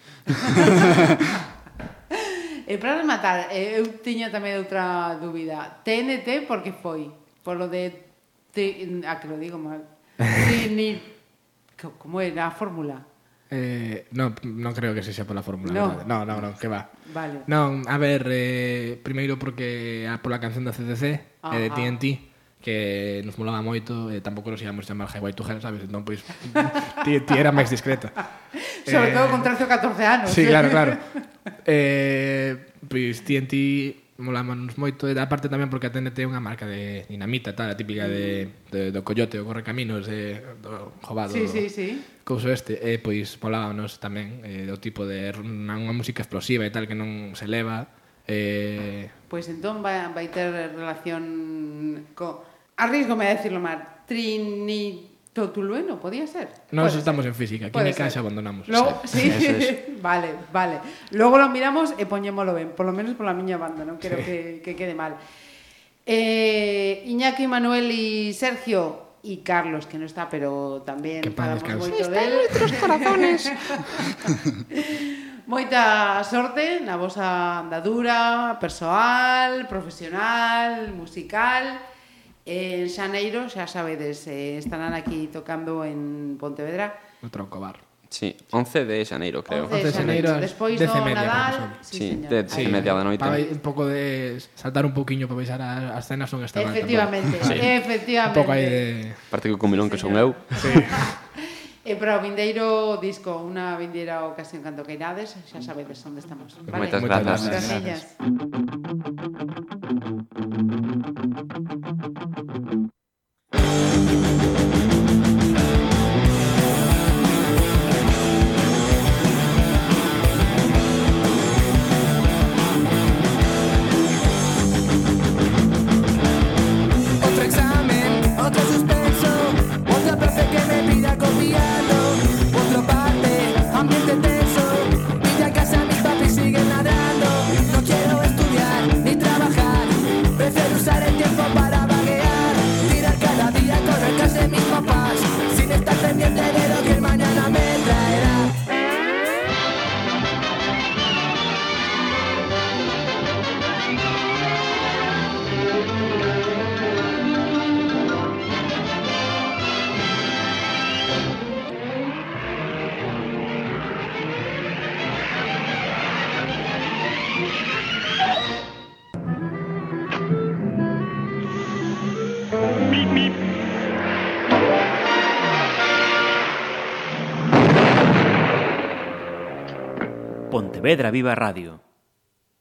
Speaker 4: E para rematar, eh, eu tiña tamén outra dúbida. TNT, por que foi? Por lo de... Ti, ah, que lo digo mal. Tini... co- Como era a fórmula?
Speaker 7: Eh, no, non creo que se xa pola fórmula,
Speaker 4: No.
Speaker 7: no. verdade. No, no, no, que va.
Speaker 4: Vale.
Speaker 7: Non, a ver, eh, primeiro porque a, pola canción da CCC, eh, de
Speaker 4: Ajá.
Speaker 7: TNT, que nos molaba moito, eh, tampouco nos íbamos chamar Highway to Hell, sabes? Entón, pois, TNT era máis discreta.
Speaker 4: Sobre
Speaker 7: Eh,
Speaker 4: todo con 13 ou 14 anos.
Speaker 7: Sí, claro, claro. Eh, pois TNT molámonos moito, e da parte tamén porque a TNT é unha marca de dinamita, tal, a típica de, de, do coyote, o correcaminos, de, do jobado.
Speaker 4: Sí, sí, sí.
Speaker 7: Couso este, eh, pois molábanos tamén eh, do tipo de r- unha, unha música explosiva e tal que non se leva. Eh,
Speaker 4: Pois entón vai, vai ter relación co... Arrísgome a decirlo mal. Trinitotulueno, podía ser?
Speaker 7: nós
Speaker 4: Pode
Speaker 7: estamos en física,
Speaker 4: Puede
Speaker 7: química
Speaker 4: ser.
Speaker 7: xa abandonamos.
Speaker 4: Logo, sí,
Speaker 5: Eso
Speaker 4: vale, vale. Logo lo miramos e poñémolo ben, por lo menos pola miña banda, non quero que, que quede mal. Eh, Iñaki, Manuel e Sergio e Carlos, que non está, pero tamén
Speaker 7: Que pan
Speaker 4: falamos
Speaker 7: descanse.
Speaker 4: moito del. nuestros corazones. Moita sorte na vosa andadura persoal, profesional, musical. En Xaneiro, xa sabedes, eh, estarán aquí tocando en Pontevedra.
Speaker 7: No tronco bar.
Speaker 5: Sí, 11 de xaneiro,
Speaker 4: 11
Speaker 5: creo.
Speaker 4: de
Speaker 7: 11 de
Speaker 4: xaneiro,
Speaker 7: xaneiro,
Speaker 4: despois do
Speaker 7: 10 e media,
Speaker 4: Nadal.
Speaker 7: creo que son.
Speaker 4: Sí,
Speaker 5: Sí,
Speaker 4: señor.
Speaker 5: de- sí,
Speaker 4: Aí.
Speaker 5: media da noite.
Speaker 7: Para vai- un pouco de saltar un pouquiño para baixar a- as cenas son estaban.
Speaker 4: Efectivamente,
Speaker 7: Un pouco aí de...
Speaker 4: efectivamente.
Speaker 5: Parte que o comilón que son eu.
Speaker 4: E para o Eh, vindeiro disco, unha vindeira ocasión canto que irades, xa sabedes onde estamos. Vale?
Speaker 5: Moitas
Speaker 7: Moitas
Speaker 5: grazas.
Speaker 7: grazas.
Speaker 4: Graciñas.
Speaker 3: Otro examen, otro suspenso, otra profe que me pida copiando, otro parte, ambiente tenso, villa a casa mis papis siguen nadando, no quiero estudiar ni trabajar, prefiero usar el tiempo para vaguear, tirar cada día con el caso de mis papás, sin estar pendiente de lo que el mañana me traerá.
Speaker 6: Pontevedra Viva Radio.